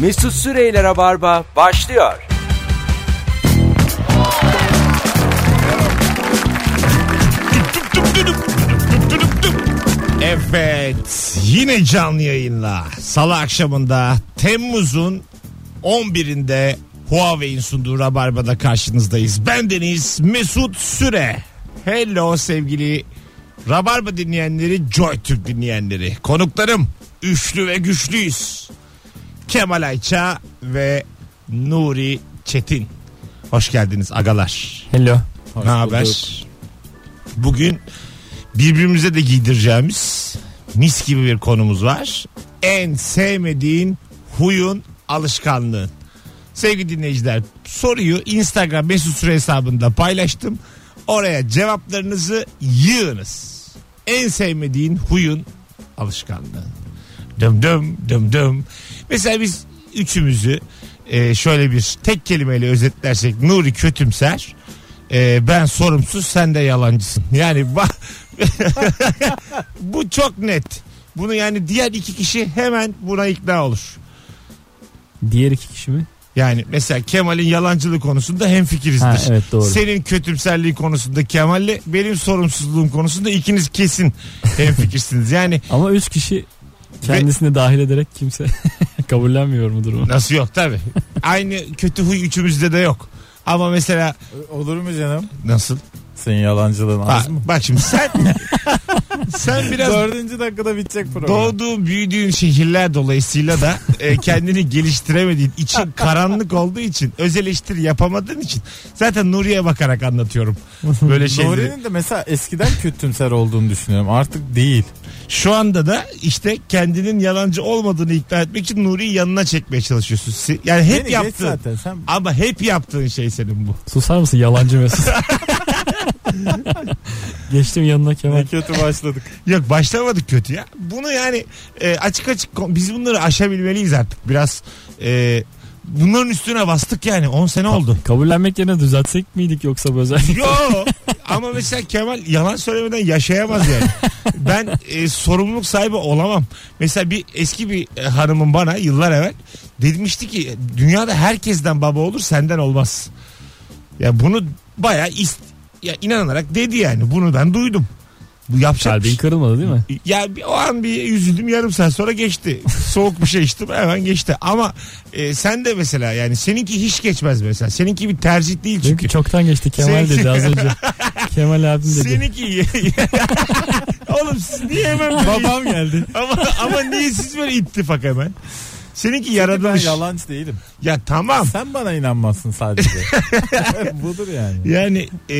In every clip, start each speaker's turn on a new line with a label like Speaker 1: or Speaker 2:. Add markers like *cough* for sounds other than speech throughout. Speaker 1: Mesut Süreyler'e barba başlıyor.
Speaker 2: Evet yine canlı yayınla salı akşamında Temmuz'un 11'inde Huawei'in sunduğu Rabarba'da karşınızdayız. Ben Deniz Mesut Süre. Hello sevgili Rabarba dinleyenleri, JoyTürk dinleyenleri. Konuklarım üçlü ve güçlüyüz. Kemal Ayça ve Nuri Çetin. Hoş geldiniz agalar.
Speaker 3: Hello.
Speaker 2: Ne haber? Bugün birbirimize de giydireceğimiz mis gibi bir konumuz var. En sevmediğin huyun alışkanlığın. Sevgili dinleyiciler soruyu Instagram mesut süre hesabında paylaştım. Oraya cevaplarınızı yığınız. En sevmediğin huyun alışkanlığı. Dım dım dım dım. Mesela biz üçümüzü e, şöyle bir tek kelimeyle özetlersek Nuri kötümser. e, ben sorumsuz sen de yalancısın. Yani ba- bu çok net. Bunu yani diğer iki kişi hemen buna ikna olur.
Speaker 3: Diğer iki kişi mi?
Speaker 2: Yani mesela Kemal'in yalancılığı konusunda hemfikirizdir.
Speaker 3: Ha, evet doğru.
Speaker 2: Senin kötümserliği konusunda Kemal'le benim sorumsuzluğum konusunda ikiniz kesin hemfikirsiniz. Yani
Speaker 3: Ama üç kişi kendisini dahil ederek kimse *laughs* kabullenmiyor mu durumu?
Speaker 2: nasıl yok tabi. Aynı kötü huy üçümüzde de yok. Ama mesela
Speaker 4: Olur mu canım?
Speaker 2: nasıl?
Speaker 4: Senin yalancılığın
Speaker 2: Ha,
Speaker 4: az mı?
Speaker 2: bak şimdi
Speaker 3: *laughs*
Speaker 2: sen sen biraz
Speaker 4: Dördüncü dakikada bitecek
Speaker 2: *laughs*
Speaker 4: program.
Speaker 2: doğduğun büyüdüğün şehirler dolayısıyla da e, kendini geliştiremediğin için
Speaker 4: *laughs*
Speaker 2: karanlık olduğu için öz eleştiri yapamadığın için zaten Nuri'ye bakarak anlatıyorum böyle şeyleri.
Speaker 4: Nuri'nin de mesela eskiden kötümser olduğunu düşünüyorum. Artık değil.
Speaker 2: Şu anda da işte kendinin yalancı olmadığını ikna etmek için Nuri'yi yanına çekmeye çalışıyorsun. Si- Yani hep
Speaker 4: Beni geç
Speaker 2: yaptığın
Speaker 4: zaten sen.
Speaker 2: ama hep yaptığın şey senin bu.
Speaker 3: Susar mısın yalancı Mesut? Geçtim yanına
Speaker 4: Ne
Speaker 3: Kemal.
Speaker 4: kötü başladık.
Speaker 2: Yok başlamadık kötü ya. Bunu yani e, açık açık kon- biz bunları aşabilmeliyiz artık. Biraz e, bunların üstüne bastık yani 10 sene oldu.
Speaker 3: Kabullenmek yerine düzeltsek miydik yoksa bu
Speaker 2: *laughs*
Speaker 3: özellik?
Speaker 2: Yo ama mesela Kemal yalan söylemeden yaşayamaz yani. Ben e, sorumluluk sahibi olamam. Mesela bir eski bir e, hanımım bana yıllar evvel demişti ki dünyada herkesten baba olur senden olmaz. Ya bunu baya ist ya inanarak dedi yani bunu ben duydum. Bu yapacak bir
Speaker 3: Kalbin
Speaker 2: şey-
Speaker 3: kırılmadı değil mi?
Speaker 2: ya bir, o an bir üzüldüm yarım saat sonra geçti. Soğuk bir şey içtim hemen geçti. Ama e, sen de mesela yani seninki hiç geçmez mesela. Seninki bir tercih değil çünkü.
Speaker 3: Çünkü çoktan geçti Kemal
Speaker 2: Senin-
Speaker 3: dedi
Speaker 2: *laughs*
Speaker 3: az önce. Kemal abim dedi.
Speaker 2: Seninki. *laughs* Oğlum siz niye hemen böyle- *laughs*
Speaker 4: Babam geldi.
Speaker 2: ama, ama niye siz böyle ittifak hemen? Seninki
Speaker 4: ben
Speaker 2: yaratılmış.
Speaker 4: yalancı değilim.
Speaker 2: Ya tamam.
Speaker 4: Sen bana inanmazsın sadece. *laughs* Budur yani.
Speaker 2: Yani e,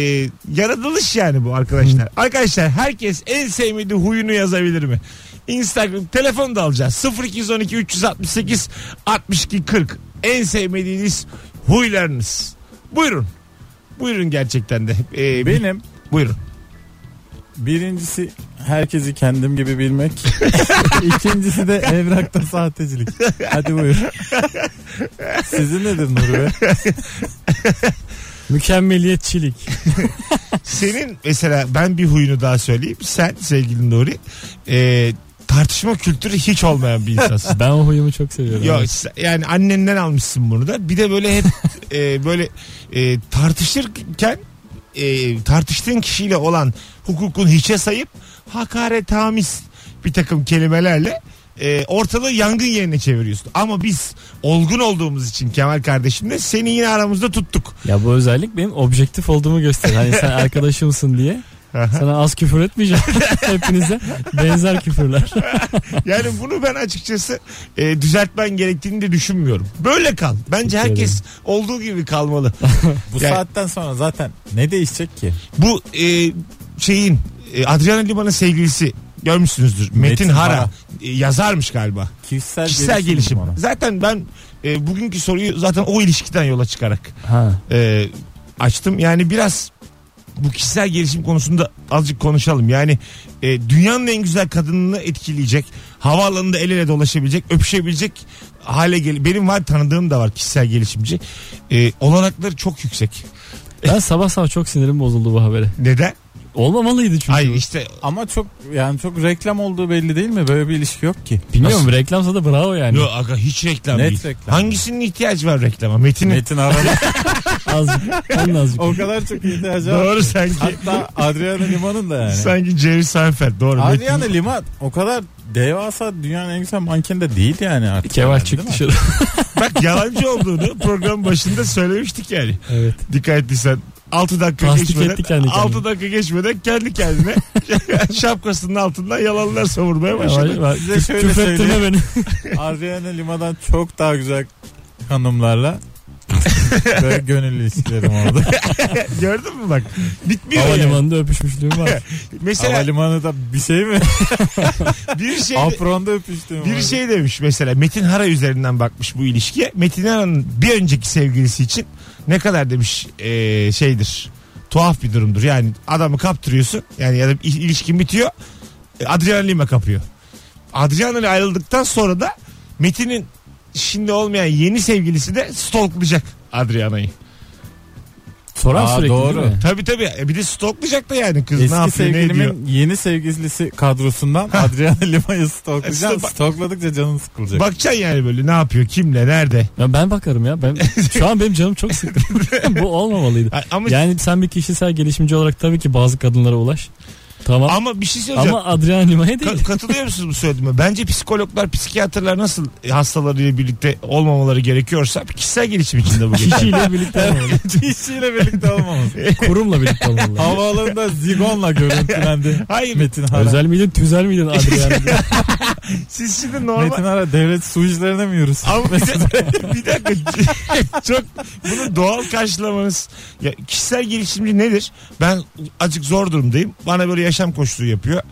Speaker 2: yaratılış yani bu arkadaşlar. arkadaşlar herkes en sevmediği huyunu yazabilir mi? Instagram telefon da alacağız. 0212 368 62 40. En sevmediğiniz huylarınız. Buyurun. Buyurun gerçekten de. E,
Speaker 4: Benim
Speaker 2: Buyurun.
Speaker 4: birincisi herkesi kendim gibi bilmek. İkincisi de evrakta sahtecilik. Hadi buyur. Sizin nedir Nuri Bey?
Speaker 3: Mükemmeliyetçilik.
Speaker 2: Senin mesela ben bir huyunu daha söyleyeyim. Sen sevgili Nuri e, tartışma kültürü hiç olmayan bir
Speaker 3: *laughs*
Speaker 2: insansın.
Speaker 3: Ben o huyumu çok seviyorum.
Speaker 2: Yok sen- yani annenden almışsın bunu da. Bir de böyle hep e, böyle e, tartışırken e, tartıştığın kişiyle olan hukukun hiçe sayıp hakaret hamis bir takım kelimelerle e, ortalığı yangın yerine çeviriyorsun. Ama biz olgun olduğumuz için Kemal kardeşimle seni yine aramızda tuttuk.
Speaker 3: Ya bu özellik benim objektif olduğumu gösterir. Hani
Speaker 4: *laughs*
Speaker 3: sen arkadaşımsın diye. Sana az küfür etmeyeceğim. *laughs* Hepinize benzer küfürler.
Speaker 2: Yani bunu ben açıkçası e, düzeltmen gerektiğini de düşünmüyorum. Böyle kal. Bence
Speaker 3: Teşekkür
Speaker 2: herkes olduğu gibi kalmalı.
Speaker 4: Bu
Speaker 2: Yani-
Speaker 4: saatten sonra zaten ne değişecek ki?
Speaker 2: Bu e, şeyin e, Adriana Lima'nın sevgilisi görmüşsünüzdür. Metin,
Speaker 4: Metin
Speaker 2: Hara,
Speaker 4: Hara.
Speaker 2: e, yazarmış galiba.
Speaker 4: Kişisel,
Speaker 2: Kişisel gelişim.
Speaker 4: gelişim ona.
Speaker 2: Zaten ben e, bugünkü soruyu zaten o ilişkiden yola çıkarak
Speaker 3: Ha.
Speaker 2: e, açtım. Yani biraz bu kişisel gelişim konusunda azıcık konuşalım. Yani e, dünyanın en güzel kadınını etkileyecek, havaalanında el ele dolaşabilecek, öpüşebilecek hale gel. Benim var tanıdığım da var kişisel gelişimci. E, olanakları çok yüksek.
Speaker 3: Ben sabah sabah çok sinirim bozuldu bu habere.
Speaker 2: Neden?
Speaker 3: Olmamalıydı çünkü.
Speaker 2: Hayır işte
Speaker 4: Ama çok yani çok reklam olduğu belli değil mi? Böyle bir ilişki yok ki.
Speaker 3: Bilmiyorum reklamsa da bravo yani.
Speaker 2: Yok aga hiç reklam
Speaker 4: Net
Speaker 2: değil.
Speaker 4: reklam.
Speaker 2: Hangisinin ihtiyacı var reklama? Metin'in.
Speaker 4: Metin Aral
Speaker 3: Azıcık. Onun azıcık.
Speaker 4: *laughs* o kadar çok ihtiyacı var.
Speaker 2: Doğru sanki.
Speaker 4: Hatta Adriana Lima'nın da yani.
Speaker 2: Sanki Jerry Seinfeld doğru.
Speaker 4: Adriana Lima o kadar devasa dünyanın en güzel mankeni de değil yani
Speaker 2: *laughs*
Speaker 4: artık.
Speaker 3: Kevaş
Speaker 4: herhalde,
Speaker 3: çık
Speaker 4: değil mi?
Speaker 3: dışarı.
Speaker 4: *laughs*
Speaker 2: Bak yalancı olduğunu programın başında söylemiştik yani.
Speaker 3: evet.
Speaker 2: Dikkat ettiysen 6 dakika
Speaker 3: Tasdik etti
Speaker 2: geçmeden
Speaker 3: kendi kendine.
Speaker 2: 6 dakika geçmeden kendi
Speaker 3: *laughs*
Speaker 2: kendine şapkasının altından yalanlar savurmaya başladı.
Speaker 4: Size
Speaker 3: Küf-
Speaker 4: şöyle
Speaker 3: Küfrettirme beni.
Speaker 4: *laughs* Adriana Lima'dan çok daha güzel hanımlarla *laughs* böyle gönüllü ilişkilerim oldu.
Speaker 2: Gördün mü bak? Bitmiyor yani.
Speaker 3: Havalimanında öpüşmüşlüğüm var.
Speaker 2: *laughs* Mesela
Speaker 4: Havalimanı da bir şey mi?
Speaker 2: bir şey
Speaker 4: Apronda öpüştüm.
Speaker 2: bir şey demiş mesela Metin Hara üzerinden bakmış bu ilişkiye. Metin Hara'nın bir önceki sevgilisi için ne kadar demiş eee, şeydir tuhaf bir durumdur. Yani adamı kaptırıyorsun yani ya da il- ilişkin bitiyor e, Adriana Lima kapıyor. Adriana ile ayrıldıktan sonra da Metin'in şimdi olmayan yeni sevgilisi de stalklayacak Adriana'yı.
Speaker 3: Soran
Speaker 4: Aa,
Speaker 3: sürekli
Speaker 4: doğru.
Speaker 3: değil mi?
Speaker 2: Tabii tabii E, bir de stalklayacak da yani kız ne
Speaker 4: Eski
Speaker 2: yapıyor ne ediyor.
Speaker 4: sevgilimin yeni sevgilisi kadrosundan Adriana Lima'yı stalklayacağım.
Speaker 2: İşte bak-
Speaker 4: Stalkladıkça canın sıkılacak.
Speaker 2: Bakacaksın yani böyle ne yapıyor kimle nerede.
Speaker 3: Ya ben bakarım ya.
Speaker 4: *laughs*
Speaker 3: Ben şu an benim canım çok sıktı. Bu olmamalıydı.
Speaker 2: A- Ama
Speaker 3: Yani sen bir kişisel gelişimci olarak tabii ki bazı kadınlara ulaş. Tamam.
Speaker 2: ama bir şey söyleyeceğim.
Speaker 3: Ama Adrian Lima'ya
Speaker 2: Ka-
Speaker 3: değil.
Speaker 2: katılıyor musunuz bu söylediğime? Bence psikologlar, psikiyatrlar nasıl hastalarıyla birlikte olmamaları gerekiyorsa kişisel gelişim içinde bu geçer.
Speaker 3: Kişiyle birlikte olmalı.
Speaker 4: İşçiyle birlikte olmamız.
Speaker 3: *laughs*
Speaker 2: *laughs*
Speaker 3: Kurumla birlikte olmalı.
Speaker 4: Havaalanında zigonla görüntülendi.
Speaker 2: Hayır
Speaker 4: Metin Hara.
Speaker 3: Özel miydin tüzel *laughs* miydin Adrian?
Speaker 2: siz şimdi
Speaker 4: Metin
Speaker 2: normal...
Speaker 4: Hara devlet su işlerine mi yürüsün?
Speaker 2: Ama bir, de- *laughs* bir dakika *laughs* çok bunu doğal karşılamanız ya kişisel gelişimci nedir? Ben acık zor durumdayım. Bana böyle yaşam koşulu yapıyor.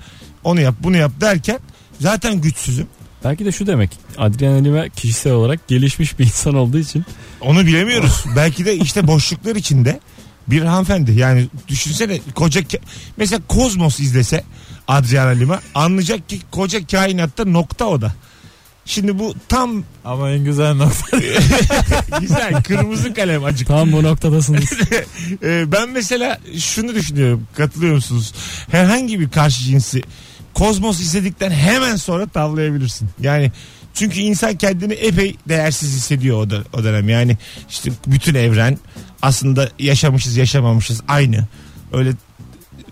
Speaker 2: Onu yap, bunu yap derken zaten güçsüzüm.
Speaker 3: Belki de şu demek. Adrian Lima kişisel olarak gelişmiş bir insan olduğu için
Speaker 2: Onu bilemiyoruz. Belki de işte boşluklar içinde bir hanımefendi. Yani düşünsene koca ka- mesela Kozmos izlese Adriana Lima anlayacak ki koca kainatta nokta o da. Şimdi bu tam
Speaker 4: Ama en güzel nokta. *laughs*
Speaker 2: güzel kırmızı kalem acık.
Speaker 3: tam bu noktadasınız.
Speaker 2: Ee, ben mesela şunu düşünüyorum. Katılıyor musunuz? Herhangi bir karşı cinsi Kozmos izledikten hemen sonra tavlayabilirsin. Yani çünkü insan kendini epey değersiz hissediyor o, da, o dönem. Yani işte bütün evren aslında yaşamışız yaşamamışız aynı. Öyle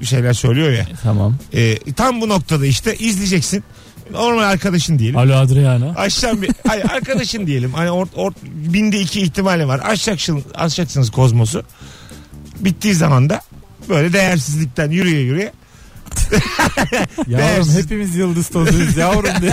Speaker 2: şeyler söylüyor ya.
Speaker 3: *laughs* tamam.
Speaker 2: Ee, tam bu noktada işte izleyeceksin. Normal arkadaşın diyelim.
Speaker 3: Alo Adriana.
Speaker 2: Aşağı bir hayır, arkadaşın diyelim. Hani ort, ort, binde iki ihtimali var. Aşacaksınız, aşacaksınız kozmosu. Bittiği zaman da böyle değersizlikten yürüye yürüye
Speaker 4: Yavrum
Speaker 2: Değersiz.
Speaker 4: hepimiz yıldız tozuyuz yavrum diye.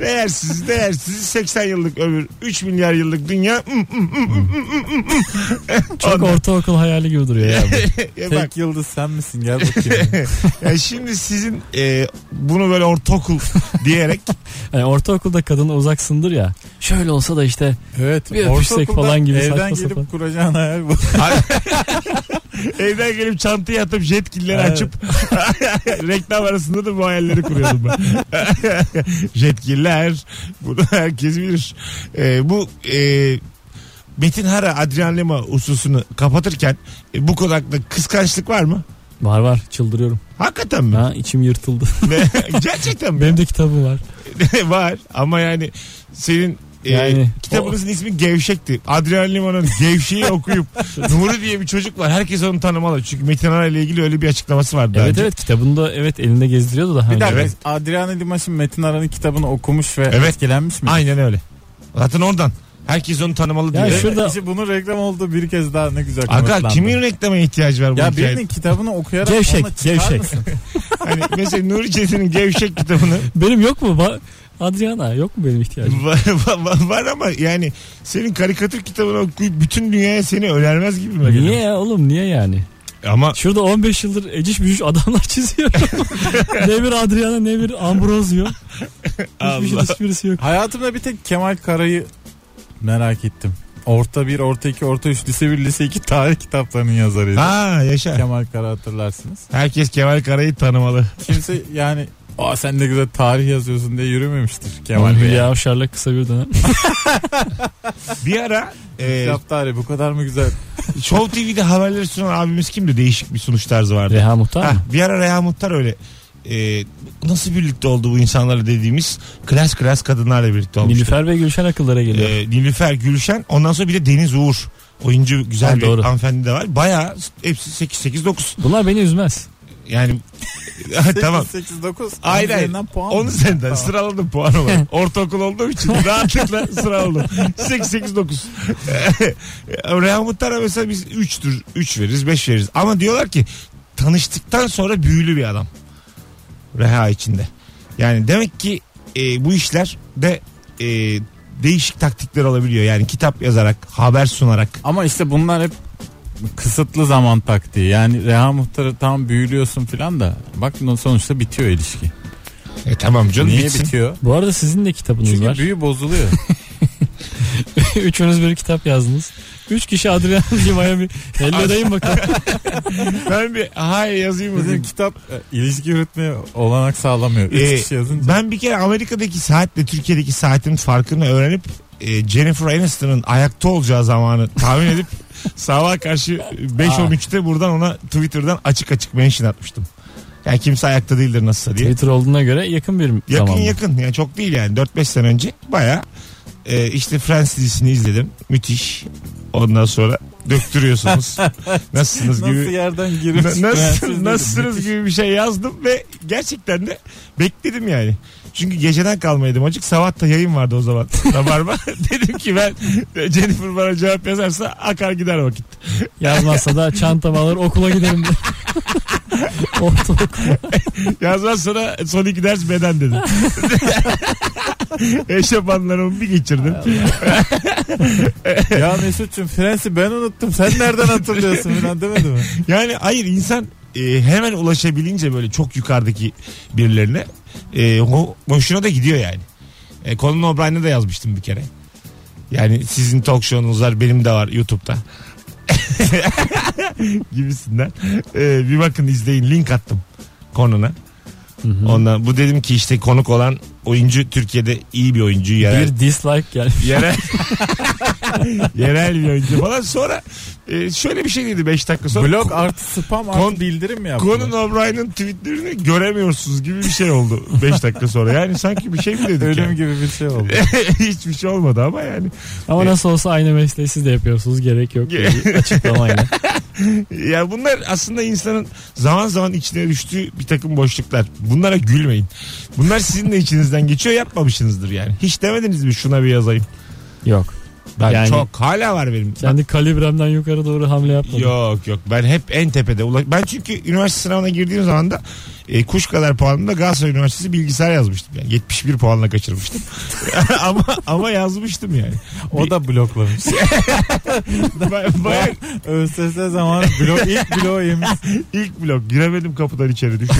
Speaker 2: değersiz değersiz 80 yıllık ömür 3 milyar yıllık dünya *laughs* Hmm, hmm, hmm, hmm, hmm, hmm, hmm.
Speaker 3: Çok
Speaker 2: Ondan-
Speaker 3: ortaokul hayali gibi duruyor *laughs* ya. bu.
Speaker 2: Ya *laughs* E bak,
Speaker 4: Tek yıldız sen misin gel bakayım.
Speaker 2: *laughs* ya şimdi sizin e, bunu böyle ortaokul diyerek
Speaker 3: Yani Hani ortaokulda kadına uzaksındır ya. Şöyle olsa da işte
Speaker 4: evet.
Speaker 3: Bir öpüşsek
Speaker 4: ortaokulda
Speaker 3: falan gibi
Speaker 4: Evden
Speaker 3: saçma
Speaker 4: gelip
Speaker 3: sapan.
Speaker 4: kuracağın hayal bu.
Speaker 2: evden gelip çantayı atıp jetkilleri
Speaker 4: Evet.
Speaker 2: açıp *laughs* reklam arasında da bu hayalleri kuruyordum ben. *laughs* jetkiller bunu herkes bilir. E, bu e, Metin Hara Adrian Lema hususunu kapatırken e, bu konakta kıskançlık var mı?
Speaker 3: var var çıldırıyorum.
Speaker 2: Hakikaten
Speaker 3: *laughs*
Speaker 2: mi?
Speaker 3: Ha içim yırtıldı.
Speaker 2: Ne? Gerçekten mi?
Speaker 3: Benim de kitabım var.
Speaker 2: *laughs* var ama yani senin e,
Speaker 3: Yani
Speaker 2: kitabınızın ismi Gevşek'ti. Adrian Liman'ın Gevşeği
Speaker 3: *laughs*
Speaker 2: okuyup Nuri diye bir çocuk var. Herkes onu tanımalı. Çünkü Metin Ana ile ilgili öyle bir açıklaması vardı. daha
Speaker 3: Evet
Speaker 2: önce.
Speaker 3: evet kitabında evet elinde gezdiriyordu daha
Speaker 4: Bir
Speaker 3: önce.
Speaker 4: dakika
Speaker 2: Evet.
Speaker 4: Adriana Limaş'ın Metin Aran'ın kitabını okumuş ve
Speaker 2: Evet.
Speaker 4: etkilenmiş mi?
Speaker 2: Aynen öyle. Zaten oradan. Herkes onu tanımalı diye.
Speaker 3: Ya
Speaker 4: Evet,
Speaker 3: şu- Şurada-
Speaker 4: işte bunun reklam olduğu bir kez daha ne güzel
Speaker 2: Aga
Speaker 4: kanıtlandı.
Speaker 2: kimin reklama ihtiyacı var bu
Speaker 4: ya
Speaker 2: hikayede?
Speaker 4: birinin kitabını okuyarak
Speaker 3: Gevşek,
Speaker 4: ona çıkar
Speaker 3: gevşek.
Speaker 4: mısın?
Speaker 2: Hani mesela Nuri Çetin'in Gevşek
Speaker 3: *laughs*
Speaker 2: kitabını
Speaker 3: Benim yok mu? Ba- Adriana yok mu benim ihtiyacım?
Speaker 2: var, var- var ama yani senin karikatür kitabını okuyup bütün dünyaya seni önermez gibi mi?
Speaker 3: Niye ya oğlum niye yani?
Speaker 2: Ama
Speaker 3: Şurada 15 yıldır eciş bücüş adamlar *laughs* çiziyor. ne bir Adriana ne bir Ambrosio. Hiçbir şey
Speaker 2: Allah.
Speaker 3: hiçbirisi yok.
Speaker 4: Hayatımda bir tek Kemal Kara'yı merak ettim. Orta 1, orta 2, orta 3, lise 1, lise 2 tarih kitaplarının yazarıydı.
Speaker 2: Ha yaşa.
Speaker 4: Kemal Kara hatırlarsınız.
Speaker 2: Herkes Kemal Kara'yı
Speaker 3: *laughs*
Speaker 2: tanımalı.
Speaker 4: Kimse yani Aa sen ne güzel tarih yazıyorsun diye yürümemiştir Kemal
Speaker 3: Aman
Speaker 4: Bey.
Speaker 3: Hülya Avşar'la kısa bir dönem.
Speaker 2: Bir ara e,
Speaker 4: Kitap tarihi bu kadar mı güzel?
Speaker 2: Show TV'de haberleri sunan abimiz kimdi? Değişik bir sunuş tarzı vardı.
Speaker 3: Reha Muhtar mı?
Speaker 2: Ha, bir ara Reha Muhtar öyle e, nasıl birlikte oldu bu insanlarla dediğimiz klas klas kadınlarla birlikte olmuştu.
Speaker 3: Nilüfer ve Gülşen akıllara
Speaker 4: Ee,
Speaker 3: geliyor.
Speaker 2: E, Nilüfer Gülşen ondan sonra bir de Deniz Uğur. Oyuncu güzel
Speaker 3: Ha,
Speaker 2: bir
Speaker 3: doğru.
Speaker 2: hanımefendi de var. Baya hepsi 8-8-9
Speaker 3: Bunlar beni üzmez.
Speaker 2: yani *laughs* *laughs* tamam.
Speaker 4: 8 9.
Speaker 2: Aynen. Onu senden sıraladım puan olarak. Ortaokul olduğum için rahatlıkla sıraladım. 8 8 9. *laughs* Reha Muhtar'a mesela biz 3'tür. 3 veririz, 5 veririz. Ama diyorlar ki tanıştıktan sonra büyülü bir adam. Reha içinde. Yani demek ki e, bu işler de e, değişik taktikler olabiliyor. Yani kitap yazarak, haber sunarak.
Speaker 4: Ama işte bunlar hep kısıtlı zaman taktiği. Yani Reha Muhtar'ı tam büyülüyorsun filan da bak sonuçta bitiyor ilişki.
Speaker 2: E tamam canım
Speaker 4: Niye
Speaker 2: bitsin.
Speaker 4: bitiyor?
Speaker 3: Bu arada sizin de kitabınız
Speaker 4: Çünkü
Speaker 3: var.
Speaker 2: *laughs*
Speaker 4: büyü bozuluyor.
Speaker 3: *laughs* Üçünüz bir kitap yazdınız. Üç kişi Adrian *laughs* Lima'ya bir elledeyim bakalım.
Speaker 2: Ben bir hayır yazayım mı?
Speaker 4: Bizim kitap e, ilişki yürütmeye olanak sağlamıyor. Üç
Speaker 2: Ee,
Speaker 4: kişi yazınca.
Speaker 2: Ben bir kere Amerika'daki saatle Türkiye'deki saatin farkını öğrenip e, Jennifer Aniston'ın ayakta olacağı zamanı tahmin
Speaker 4: *laughs*
Speaker 2: edip sabah karşı 5.13'te buradan ona Twitter'dan açık açık mention atmıştım. Yani kimse ayakta değildir nasılsa diye.
Speaker 3: Twitter olduğuna göre yakın bir
Speaker 2: Yakın
Speaker 3: zaman. bu.
Speaker 2: yakın yani çok değil yani 4-5 sene önce baya e, işte Friends dizisini izledim müthiş ondan sonra
Speaker 4: *laughs*
Speaker 2: döktürüyorsunuz nasılsınız
Speaker 4: Nasıl
Speaker 2: gibi
Speaker 4: yerden girmiş?
Speaker 2: Na-
Speaker 4: Fransız dedim.
Speaker 2: Nasıl, nasılsınız gibi bir şey yazdım ve gerçekten de bekledim yani. Çünkü geceden kalmaydım acık. Sabah da yayın vardı o zaman. Rabarba. *laughs* Dedim ki ben e, Jennifer bana cevap yazarsa akar gider vakit.
Speaker 3: Yazmazsa da çantamı alır okula giderim.
Speaker 4: *laughs*
Speaker 3: de. Ortaokul.
Speaker 2: Yazmazsa da son iki ders beden dedim. *laughs* Eşepanlarımı bir geçirdim.
Speaker 4: Ya Mesut'cum Fransız ben unuttum. Sen nereden hatırlıyorsun filan demedi mi?
Speaker 2: Yani hayır insan e, hemen ulaşabilince böyle çok yukarıdaki birilerine e, ho- hoşuna da gidiyor yani. E, Conan O'Brien'e de yazmıştım bir kere. Yani sizin talk show'unuz var benim de var YouTube'da. *laughs* gibisinden. E, bir bakın izleyin link attım Conan'a.
Speaker 3: Hı hı.
Speaker 2: Ondan bu dedim ki işte konuk olan oyuncu Türkiye'de iyi bir oyuncu yerel
Speaker 3: bir dislike
Speaker 2: *laughs*
Speaker 3: gelmiş.
Speaker 2: yerel yerel bir oyuncu falan sonra e, şöyle bir şey dedi 5 dakika sonra
Speaker 4: Blog artı spam artı
Speaker 2: Kon-
Speaker 4: bildirim mi yaptı?
Speaker 2: Conan O'Brien'in tweetlerini göremiyorsunuz gibi bir şey oldu 5 dakika sonra. Yani sanki bir şey mi dedik
Speaker 4: Ölüm
Speaker 2: yani?
Speaker 4: gibi bir şey oldu.
Speaker 2: *laughs* Hiçbir şey olmadı ama yani.
Speaker 3: Ama nasıl olsa aynı mesleği siz de yapıyorsunuz. Gerek yok. diye
Speaker 2: *laughs*
Speaker 3: bir Açıklamayla.
Speaker 2: Ya bunlar aslında insanın zaman zaman içine düştüğü bir takım boşluklar. Bunlara gülmeyin. Bunlar sizin de içinizden geçiyor yapmamışsınızdır yani. Hiç demediniz mi şuna bir yazayım.
Speaker 3: Yok.
Speaker 2: Ben
Speaker 3: Yani-
Speaker 2: çok hala var benim.
Speaker 3: Kendi kalibremden yukarı doğru hamle yapmadım.
Speaker 2: Yok yok ben hep en tepede. ulaş- Ben çünkü üniversite sınavına girdiğim zaman da e, kuş kadar puanımda Galatasaray Üniversitesi bilgisayar yazmıştım. Yani 71 puanla kaçırmıştım. *laughs* ama ama yazmıştım yani.
Speaker 4: O
Speaker 2: *laughs*
Speaker 4: da bloklamış.
Speaker 2: Ben- Bayağı
Speaker 4: ÖSS zamanı blok, ilk
Speaker 2: *laughs*
Speaker 4: bloğu yemiş.
Speaker 2: ilk blok giremedim kapıdan içeri düşün.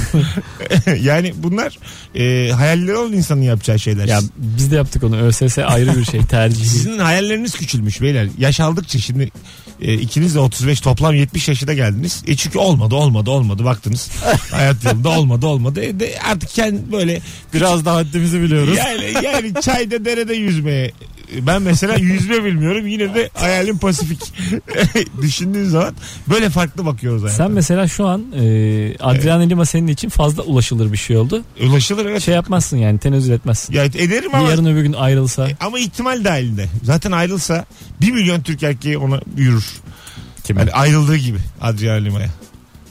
Speaker 2: *laughs* yani bunlar e, hayalleri olan insanın yapacağı şeyler.
Speaker 3: Ya biz de yaptık onu. ÖSS ayrı bir şey tercihi.
Speaker 2: Sizin hayalleriniz küçülmüş beyler. Yaş aldıkça şimdi e, ikiniz de 35 toplam 70 yaşına geldiniz. E çünkü olmadı olmadı olmadı baktınız. Hayat yolunda olmadı olmadı. E de artık kendi böyle
Speaker 4: Biraz da haddimizi biliyoruz.
Speaker 2: Yani, yani çayda derede yüzmeye. E, Ben mesela yüzme bilmiyorum. Yine de hayalim Pasifik. *laughs* Düşündüğün zaman böyle farklı bakıyoruz hayata.
Speaker 3: Sen mesela şu an e, Adrian Lima senin için fazla ulaşılır bir şey oldu.
Speaker 2: Ulaşılır evet.
Speaker 3: Şey yapmazsın yani tenezzül etmezsin.
Speaker 2: Ya ederim
Speaker 3: Bir
Speaker 2: ama
Speaker 3: yarın öbür gün ayrılsa.
Speaker 2: ama ihtimal dahilinde. Zaten ayrılsa 1 milyon Türk erkeği ona yürür.
Speaker 4: Kime?
Speaker 2: Yani ayrıldığı gibi Adrian Lima'ya.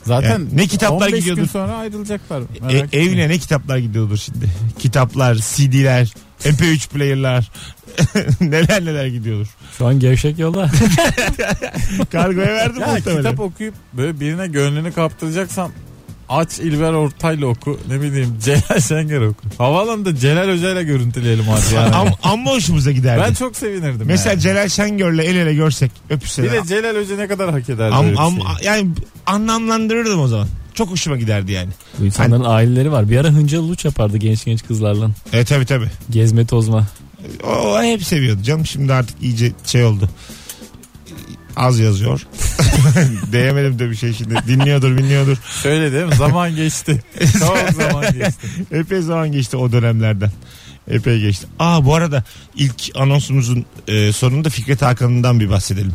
Speaker 4: Zaten
Speaker 2: Yani ne kitaplar
Speaker 4: 15
Speaker 2: gidiyordur?
Speaker 4: gün sonra ayrılacaklar.
Speaker 2: E,
Speaker 4: Merak etme.
Speaker 2: evine ne kitaplar gidiyordur şimdi? *laughs* Kitaplar, CD'ler, MP3 player'lar. *laughs* neler neler gidiyordur.
Speaker 3: Şu an
Speaker 2: *laughs*
Speaker 3: gevşek yolda.
Speaker 2: Kargoya verdim
Speaker 4: *laughs* Ya
Speaker 2: muhtemelen.
Speaker 4: kitap okuyup böyle birine gönlünü kaptıracaksan aç İlber Ortaylı oku. Ne bileyim Celal Şengör oku. Havaalanında Celal Hoca'yla görüntüleyelim
Speaker 2: *laughs*
Speaker 4: hadi yani.
Speaker 2: Am, amma hoşumuza giderdi.
Speaker 4: ben çok sevinirdim.
Speaker 2: Mesela
Speaker 4: yani.
Speaker 2: Celal Şengör'le el ele görsek öpüşseler.
Speaker 4: bir de Celal Hoca ne kadar hak eder
Speaker 2: Am-
Speaker 4: böyle bir şey?
Speaker 2: am-
Speaker 4: şeyi.
Speaker 2: yani anlamlandırırdım o zaman. Çok hoşuma giderdi yani.
Speaker 3: Bu insanların aileleri var. Bir ara Hıncalı Luç yapardı genç genç kızlarla.
Speaker 2: E tabi tabi.
Speaker 3: Gezme tozma.
Speaker 2: O, o hep seviyordu canım. Şimdi artık iyice şey oldu. Az yazıyor. *laughs* Diyemedim de bir şey şimdi. Dinliyordur dinliyordur.
Speaker 4: Şöyle değil mi?
Speaker 2: *laughs*
Speaker 4: Zaman geçti. Çok zaman geçti.
Speaker 2: Epey zaman geçti o dönemlerden. Epey geçti. Aa bu arada ilk anonsumuzun e, sonunda Fikret Hakan'ından bir bahsedelim.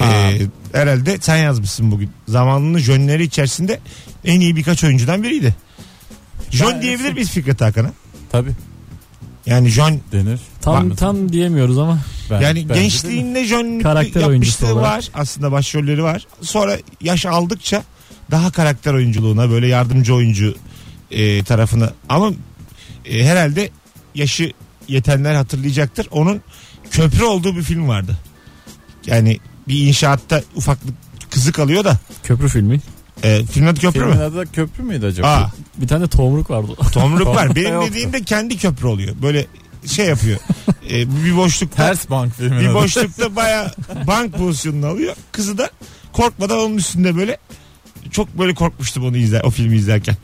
Speaker 2: Ee, herhalde sen yazmışsın bugün. Zamanının jönleri içerisinde en iyi birkaç oyuncudan biriydi. Jön
Speaker 4: Ben-
Speaker 2: diyebilir miyiz Fikret Hakan'a?
Speaker 4: Tabii
Speaker 2: Yani jön
Speaker 4: denir.
Speaker 3: Tam
Speaker 4: Bak-
Speaker 3: tam diyemiyoruz ama
Speaker 4: Ben-
Speaker 2: yani
Speaker 4: bence de-
Speaker 2: gençliğinde jönlük
Speaker 3: Karakter oyuncusu
Speaker 2: yapmışlığı
Speaker 3: olarak.
Speaker 2: var. Aslında başrolleri var. Sonra yaş aldıkça daha karakter oyunculuğuna böyle yardımcı oyuncu e, tarafına ama e, herhalde yaşı yetenler hatırlayacaktır. Onun köprü olduğu bir film vardı. Yani bir inşaatta ufaklık kızı kalıyor da
Speaker 3: köprü filmi.
Speaker 2: e, filmin adı köprü
Speaker 4: Filmin
Speaker 2: mü?
Speaker 4: adı da köprü müydü acaba?
Speaker 2: Aa,
Speaker 3: Bir tane de tomruk vardı.
Speaker 2: tomruk
Speaker 4: *laughs*
Speaker 2: var. Benim
Speaker 4: Yok.
Speaker 2: dediğim de kendi köprü oluyor. Böyle şey
Speaker 4: *laughs*
Speaker 2: yapıyor. E, bir boşlukta
Speaker 4: Ters bank filmin
Speaker 2: bir
Speaker 4: adı.
Speaker 2: boşlukta baya bank pozisyonunu alıyor. Kızı da korkmadan onun üstünde böyle çok böyle korkmuştum onu izler, o filmi izlerken.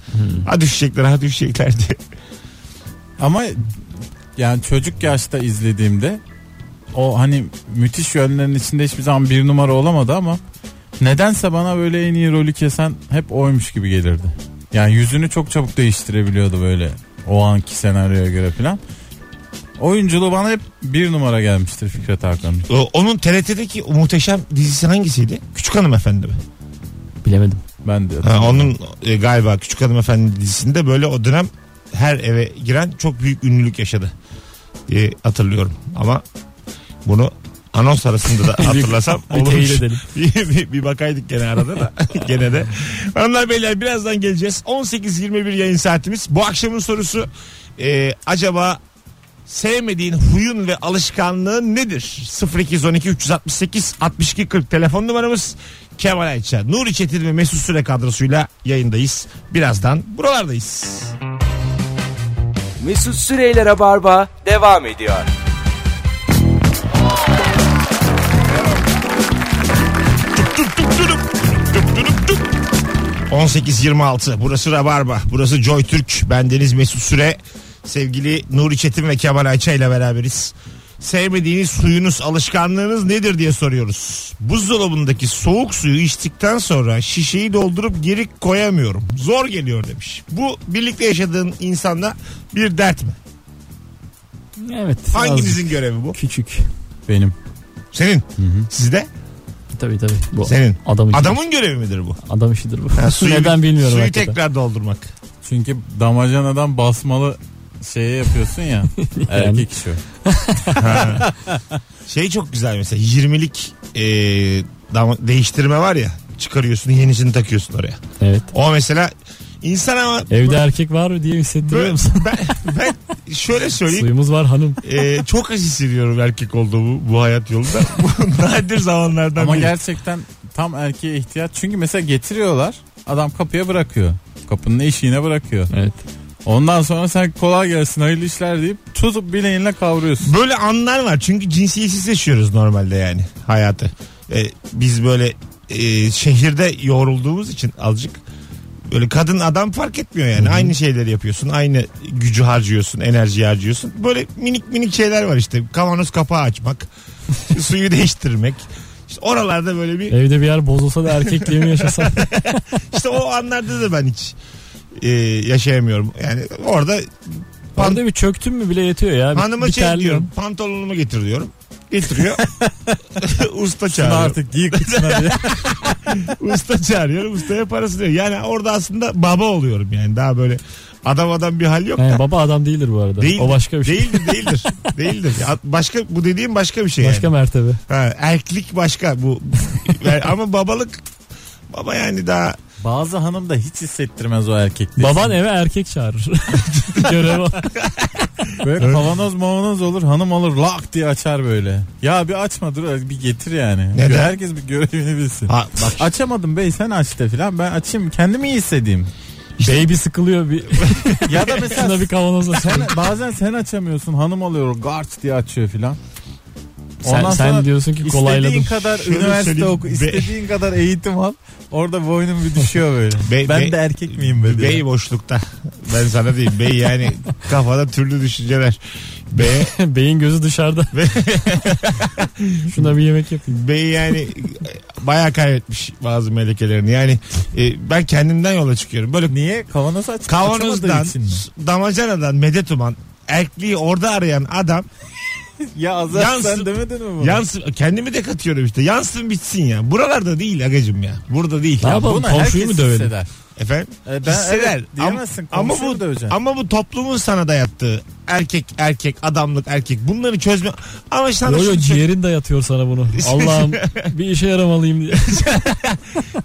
Speaker 2: Ha düşecekler, ha düşecekler diye.
Speaker 4: Ama yani çocuk yaşta izlediğimde o hani müthiş yönlerin içinde hiçbir zaman bir numara olamadı ama nedense bana böyle en iyi rolü kesen hep oymuş gibi gelirdi. Yani yüzünü çok çabuk değiştirebiliyordu böyle o anki senaryoya göre falan. Oyunculuğu bana hep bir numara gelmiştir Fikret Hakan'ın.
Speaker 2: O- Onun TRT'deki o muhteşem dizisi hangisiydi? Küçük Hanımefendi mi?
Speaker 3: *laughs* Bilemedim.
Speaker 4: Ben de.
Speaker 2: Ha, onun e, galiba Küçük Hanımefendi dizisinde böyle o dönem her eve giren çok büyük ünlülük yaşadı diye hatırlıyorum. Ama bunu anons arasında da hatırlasam
Speaker 3: Bir teyit
Speaker 2: olurmuş.
Speaker 3: edelim.
Speaker 2: *laughs* bir, bir- bir bakaydık gene arada da gene de. Hanımlar beyler birazdan geleceğiz. 18.21 yayın saatimiz. Bu akşamın sorusu e, acaba sevmediğin huyun ve alışkanlığın nedir? 0212 368 62 40 telefon numaramız Kemal Ayça. Nuri Çetin ve Mesut Süre kadrosuyla yayındayız. Birazdan buralardayız.
Speaker 1: Mesut Süreyler'e barba devam ediyor.
Speaker 2: Tup tup turup, tup turup tup. 18.26 burası Rabarba burası Joy Türk bendeniz Mesut Süre sevgili Nuri Çetin ve Kemal Ayça ile beraberiz sevmediğiniz suyunuz alışkanlığınız nedir diye soruyoruz buzdolabındaki soğuk suyu içtikten sonra şişeyi doldurup geri koyamıyorum zor geliyor demiş bu birlikte yaşadığın insanla bir dert mi
Speaker 3: Evet. azıcık
Speaker 2: hanginizin görevi bu
Speaker 3: Küçük.
Speaker 4: Benim.
Speaker 2: senin sizde
Speaker 3: Tabii tabii. Bu
Speaker 2: Senin.
Speaker 3: Adam, işi.
Speaker 2: adamın görevi midir bu
Speaker 3: adam işidir bu. *laughs*
Speaker 2: Ha, suyu-
Speaker 3: Neden bilmiyorum.
Speaker 2: suyu
Speaker 3: hakikaten.
Speaker 2: tekrar doldurmak
Speaker 4: Çünkü damacanadan basmalı şeye
Speaker 2: *laughs*
Speaker 4: yapıyorsun ya. Erkek işi. o.
Speaker 2: Şey çok güzel mesela 20'lik e, dam- değiştirme var ya çıkarıyorsun yenisini takıyorsun oraya.
Speaker 3: Evet.
Speaker 2: O mesela insan ama
Speaker 3: Evde erkek var mı diye hissettiriyor
Speaker 2: Böyle-
Speaker 3: musun? *laughs*
Speaker 2: ben, ben şöyle söyleyeyim
Speaker 3: Suyumuz var hanım.
Speaker 2: e, çok az hissediyorum erkek olduğumu bu hayat yolunda. *laughs* Bu nadir zamanlardan
Speaker 4: Ama
Speaker 2: biri.
Speaker 4: gerçekten tam erkeğe ihtiyaç. Çünkü mesela getiriyorlar. Adam kapıya bırakıyor. Kapının eşiğine bırakıyor.
Speaker 3: Evet.
Speaker 4: Ondan sonra sen kolay gelsin hayırlı işler deyip tutup bileğinle *laughs* kavruyorsun.
Speaker 2: Böyle anlar var çünkü cinsiyetsiz yaşıyoruz normalde yani hayatı. E, biz böyle e, şehirde yoğrulduğumuz için azıcık böyle kadın adam fark etmiyor yani. Aynı şeyleri yapıyorsun, aynı gücü harcıyorsun, enerji harcıyorsun. Böyle minik minik şeyler var işte. Kavanoz kapağı açmak, *laughs* suyu değiştirmek. İşte oralarda böyle bir
Speaker 3: Evde bir yer bozulsa da erkekliğimi yaşasa.
Speaker 2: işte o anlarda da ben hiç e, yaşayamıyorum. Yani orada *laughs* pan-
Speaker 3: Orada bir çöktün mü bile yetiyor ya. Bir,
Speaker 2: hanıma
Speaker 3: bir
Speaker 2: şey
Speaker 3: terliyorum.
Speaker 2: diyorum. Pantolonumu getir diyorum. Getiriyor. *laughs* Usta
Speaker 4: Şunu
Speaker 2: çağırıyor.
Speaker 4: artık giy kıçına diye.
Speaker 2: Usta çağırıyorum. Ustaya parası diyor. Yani orada aslında baba oluyorum yani. Daha böyle adam adam bir hal yok.
Speaker 3: He,
Speaker 2: da.
Speaker 3: baba adam değildir bu arada.
Speaker 2: Değil-
Speaker 3: o başka bir şey.
Speaker 2: Değildir
Speaker 3: *laughs*
Speaker 2: değildir. değildir. Ya başka bu dediğim başka bir şey
Speaker 3: başka
Speaker 2: yani.
Speaker 3: mertebe.
Speaker 2: Ha, erklik başka bu. Yani ama babalık baba yani daha
Speaker 4: *laughs* Bazı hanım da hiç hissettirmez o erkekliği.
Speaker 3: Baban eve erkek
Speaker 2: *laughs*
Speaker 3: çağırır. Görev o.
Speaker 4: Böyle kavanoz mavanoz olur hanım alır lak diye açar böyle. Ya bir açma dur bir getir yani.
Speaker 2: Neden?
Speaker 4: Herkes bir görevini bilsin.
Speaker 2: Ha, bak
Speaker 4: Açamadım bey sen aç de filan ben açayım kendimi iyi hissedeyim.
Speaker 3: Baby sıkılıyor. Bir,
Speaker 4: Ya *laughs* da mesela
Speaker 3: şuna bir kavanozla
Speaker 4: sen, bazen sen açamıyorsun hanım alıyor garç diye açıyor filan.
Speaker 3: sen,
Speaker 4: Ondan
Speaker 3: sen
Speaker 4: sonra
Speaker 3: diyorsun ki
Speaker 4: İstediğin
Speaker 3: kolayladım.
Speaker 4: kadar
Speaker 2: Şöyle
Speaker 4: üniversite
Speaker 2: söyleyeyim,
Speaker 4: oku,
Speaker 2: be-
Speaker 4: istediğin kadar eğitim al. Orada boynum bir düşüyor böyle.
Speaker 2: Be-
Speaker 4: ben
Speaker 2: be-
Speaker 4: de erkek miyim böyle?
Speaker 2: bey boşlukta. Ben sana diyeyim bey yani kafada türlü düşünceler. Bey
Speaker 3: *laughs* Beyin gözü dışarıda. *laughs* Şuna bir yemek yapayım.
Speaker 2: Bey yani bayağı kaybetmiş bazı melekelerini. Yani e, ben kendimden yola çıkıyorum. Böyle
Speaker 4: Niye? Kavanoz aç.
Speaker 2: kavanozdan,
Speaker 4: açamadığı için mi?
Speaker 2: damacanadan medet uman, erkliği orada arayan adam
Speaker 4: ya Azar
Speaker 2: Yansın.
Speaker 4: sen demedin mi bunu?
Speaker 2: Yansın kendimi de katıyorum işte. Yansın bitsin ya. Buralarda değil agacım ya. Burada değil.
Speaker 3: Ya Yapalım,
Speaker 4: Bunu
Speaker 3: komşuyu
Speaker 4: herkes
Speaker 3: mu dövelim?
Speaker 4: hisseder.
Speaker 2: Efendim?
Speaker 4: E, ben
Speaker 2: Hisseder.
Speaker 4: evet diyemezsin,
Speaker 2: Ama- ama
Speaker 4: komşuyu
Speaker 2: bu
Speaker 4: döveceksin.
Speaker 2: ama bu toplumun sana dayattığı erkek erkek adamlık erkek bunları çözme. Ama sana
Speaker 3: Yo yo
Speaker 2: şunu söyleyeyim.
Speaker 3: ciğerin dayatıyor sana
Speaker 4: *laughs*
Speaker 3: bunu. Allah'ım bir işe yaramalıyım diye.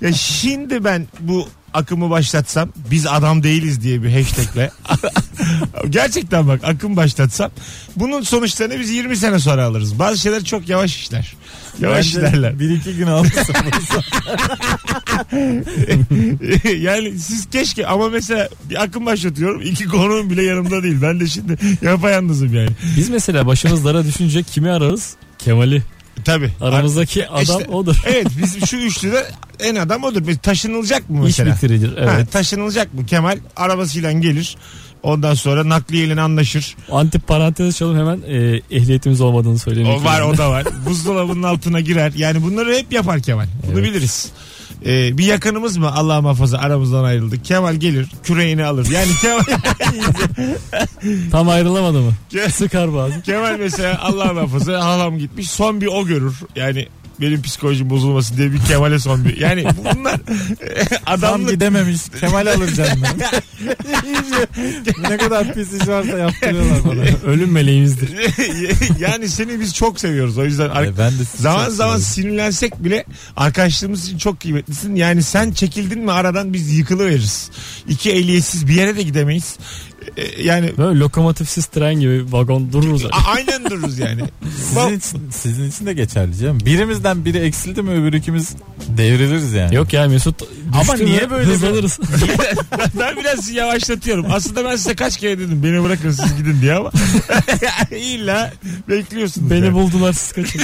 Speaker 2: Ya şimdi ben bu akımı başlatsam biz adam değiliz diye bir hashtagle gerçekten bak akım başlatsam bunun sonuçlarını biz 20 sene sonra alırız. Bazı şeyler çok yavaş işler. Yavaş
Speaker 4: Bence
Speaker 2: işlerler. *laughs*
Speaker 4: *laughs* Bir iki gün aldı.
Speaker 2: yani siz keşke ama mesela bir akım başlatıyorum. iki konuğum bile yanımda değil. Ben de şimdi yapayalnızım yani.
Speaker 3: *laughs* Biz mesela başımız dara düşünce kimi ararız? Kemal'i.
Speaker 2: Tabii.
Speaker 3: Aramızdaki adam
Speaker 2: İşte-
Speaker 3: odur.
Speaker 2: Evet bizim şu üçlüde en adam odur. Bir taşınılacak mı
Speaker 3: İş
Speaker 2: mesela?
Speaker 3: bitiricidir.
Speaker 2: Ha,
Speaker 3: Evet.
Speaker 2: taşınılacak mı? Kemal arabasıyla gelir. Ondan sonra nakliyeyle anlaşır.
Speaker 3: Antip parantez açalım hemen e, ehliyetimiz olmadığını söylemek
Speaker 2: O var
Speaker 3: lazım.
Speaker 2: o da var. Buzdolabının altına girer. Yani bunları hep yapar Kemal. Bunu
Speaker 3: Evet.
Speaker 2: biliriz. Ee, bir yakınımız mı Allah muhafaza aramızdan ayrıldı. Kemal gelir küreğini alır. Yani Kemal, *laughs*
Speaker 3: Tam ayrılamadı mı?
Speaker 2: Ke-
Speaker 3: Sıkar
Speaker 4: *laughs*
Speaker 3: bazı.
Speaker 2: Kemal mesela Allah muhafaza halam gitmiş son bir o görür. Yani benim psikolojim bozulmasın diye bir Kemal'e son bir. Yani bunlar *laughs*
Speaker 4: Tam
Speaker 2: adamlık
Speaker 4: gidememiş. Kemal alır *laughs* canını.
Speaker 2: *laughs*
Speaker 4: ne kadar pis iş varsa yaptırıyorlar bana.
Speaker 3: Ölüm meleğimizdir.
Speaker 2: yani seni biz çok seviyoruz. O yüzden ar-
Speaker 4: E, ben de sizi
Speaker 2: zaman
Speaker 4: çok
Speaker 2: zaman
Speaker 4: seviyorum.
Speaker 2: sinirlensek bile arkadaşlığımız için çok kıymetlisin. Yani sen çekildin mi aradan biz yıkılıveririz. İki ehliyetsiz bir yere de gidemeyiz. Ee, Yani
Speaker 3: Böyle lokomotifsiz tren gibi vagon dururuz.
Speaker 2: a- aynen dururuz
Speaker 4: *laughs*
Speaker 2: yani.
Speaker 4: sizin için, sizin için de geçerli canım. Birimizden biri eksildi mi öbür ikimiz devriliriz yani.
Speaker 3: Yok ya Mesut
Speaker 4: Ama
Speaker 3: düştü
Speaker 4: niye
Speaker 3: mü
Speaker 4: böyle bir- *laughs*
Speaker 3: hızlanırız.
Speaker 2: ben biraz sizi yavaşlatıyorum. Aslında ben size kaç kere dedim beni bırakın siz gidin diye ama *laughs* illa bekliyorsunuz.
Speaker 3: Beni
Speaker 2: yani.
Speaker 3: buldular siz kaçın.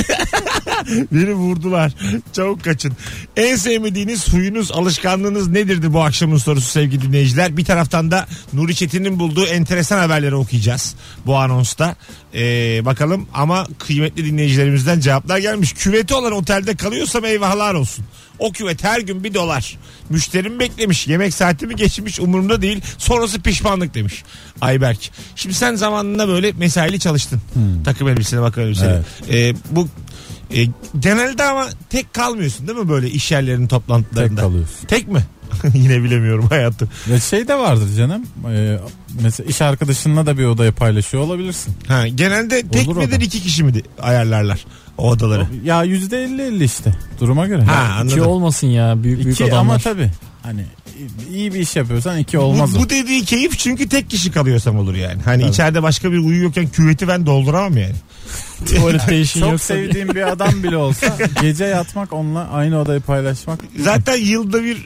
Speaker 2: Beni vurdular. Çabuk kaçın. En sevmediğiniz huyunuz, alışkanlığınız nedirdi bu akşamın sorusu sevgili dinleyiciler? Bir taraftan da Nuri Çetin'in bulduğu enteresan haberleri okuyacağız bu anonsta. Ee, bakalım ama kıymetli dinleyicilerimizden cevaplar gelmiş. Küveti olan otelde kalıyorsam eyvahlar olsun. O küvet her gün bir dolar. Müşterim beklemiş. Yemek saati mi geçmiş umurumda değil. Sonrası pişmanlık demiş. Ayberk. Şimdi sen zamanında böyle mesaili çalıştın. Takım elbisene bakım elbisene. Ee, bu e, genelde ama tek kalmıyorsun değil mi böyle iş yerlerinin
Speaker 4: Tek
Speaker 2: toplantılarında?
Speaker 4: kalıyorsun.
Speaker 2: Tek mi? *laughs* Yine bilemiyorum hayatım.
Speaker 4: Ya şey de vardır canım. Ee, mesela iş arkadaşınla da bir odayı paylaşıyor olabilirsin.
Speaker 2: Ha, genelde tek
Speaker 4: Olur
Speaker 2: midir
Speaker 4: adam.
Speaker 2: iki kişi mi ayarlarlar o odaları?
Speaker 4: Ya yüzde elli elli işte duruma göre.
Speaker 2: Ha
Speaker 4: Yani
Speaker 3: İki
Speaker 2: anladım.
Speaker 3: olmasın ya büyük büyük
Speaker 4: iki
Speaker 3: adamlar.
Speaker 4: ama tabi hani iyi bir iş yapıyorsan iki olmaz.
Speaker 2: Bu,
Speaker 4: o.
Speaker 2: bu dediği keyif çünkü tek kişi kalıyorsam olur yani. Hani
Speaker 4: Tabii.
Speaker 2: içeride başka bir uyuyorken küveti ben dolduramam yani.
Speaker 3: *laughs* Tuvalette
Speaker 4: *laughs*
Speaker 3: işin
Speaker 4: Çok
Speaker 3: yoksa.
Speaker 4: sevdiğim bir adam bile *laughs* olsa gece yatmak onunla aynı odayı paylaşmak. *laughs*
Speaker 2: Zaten yılda bir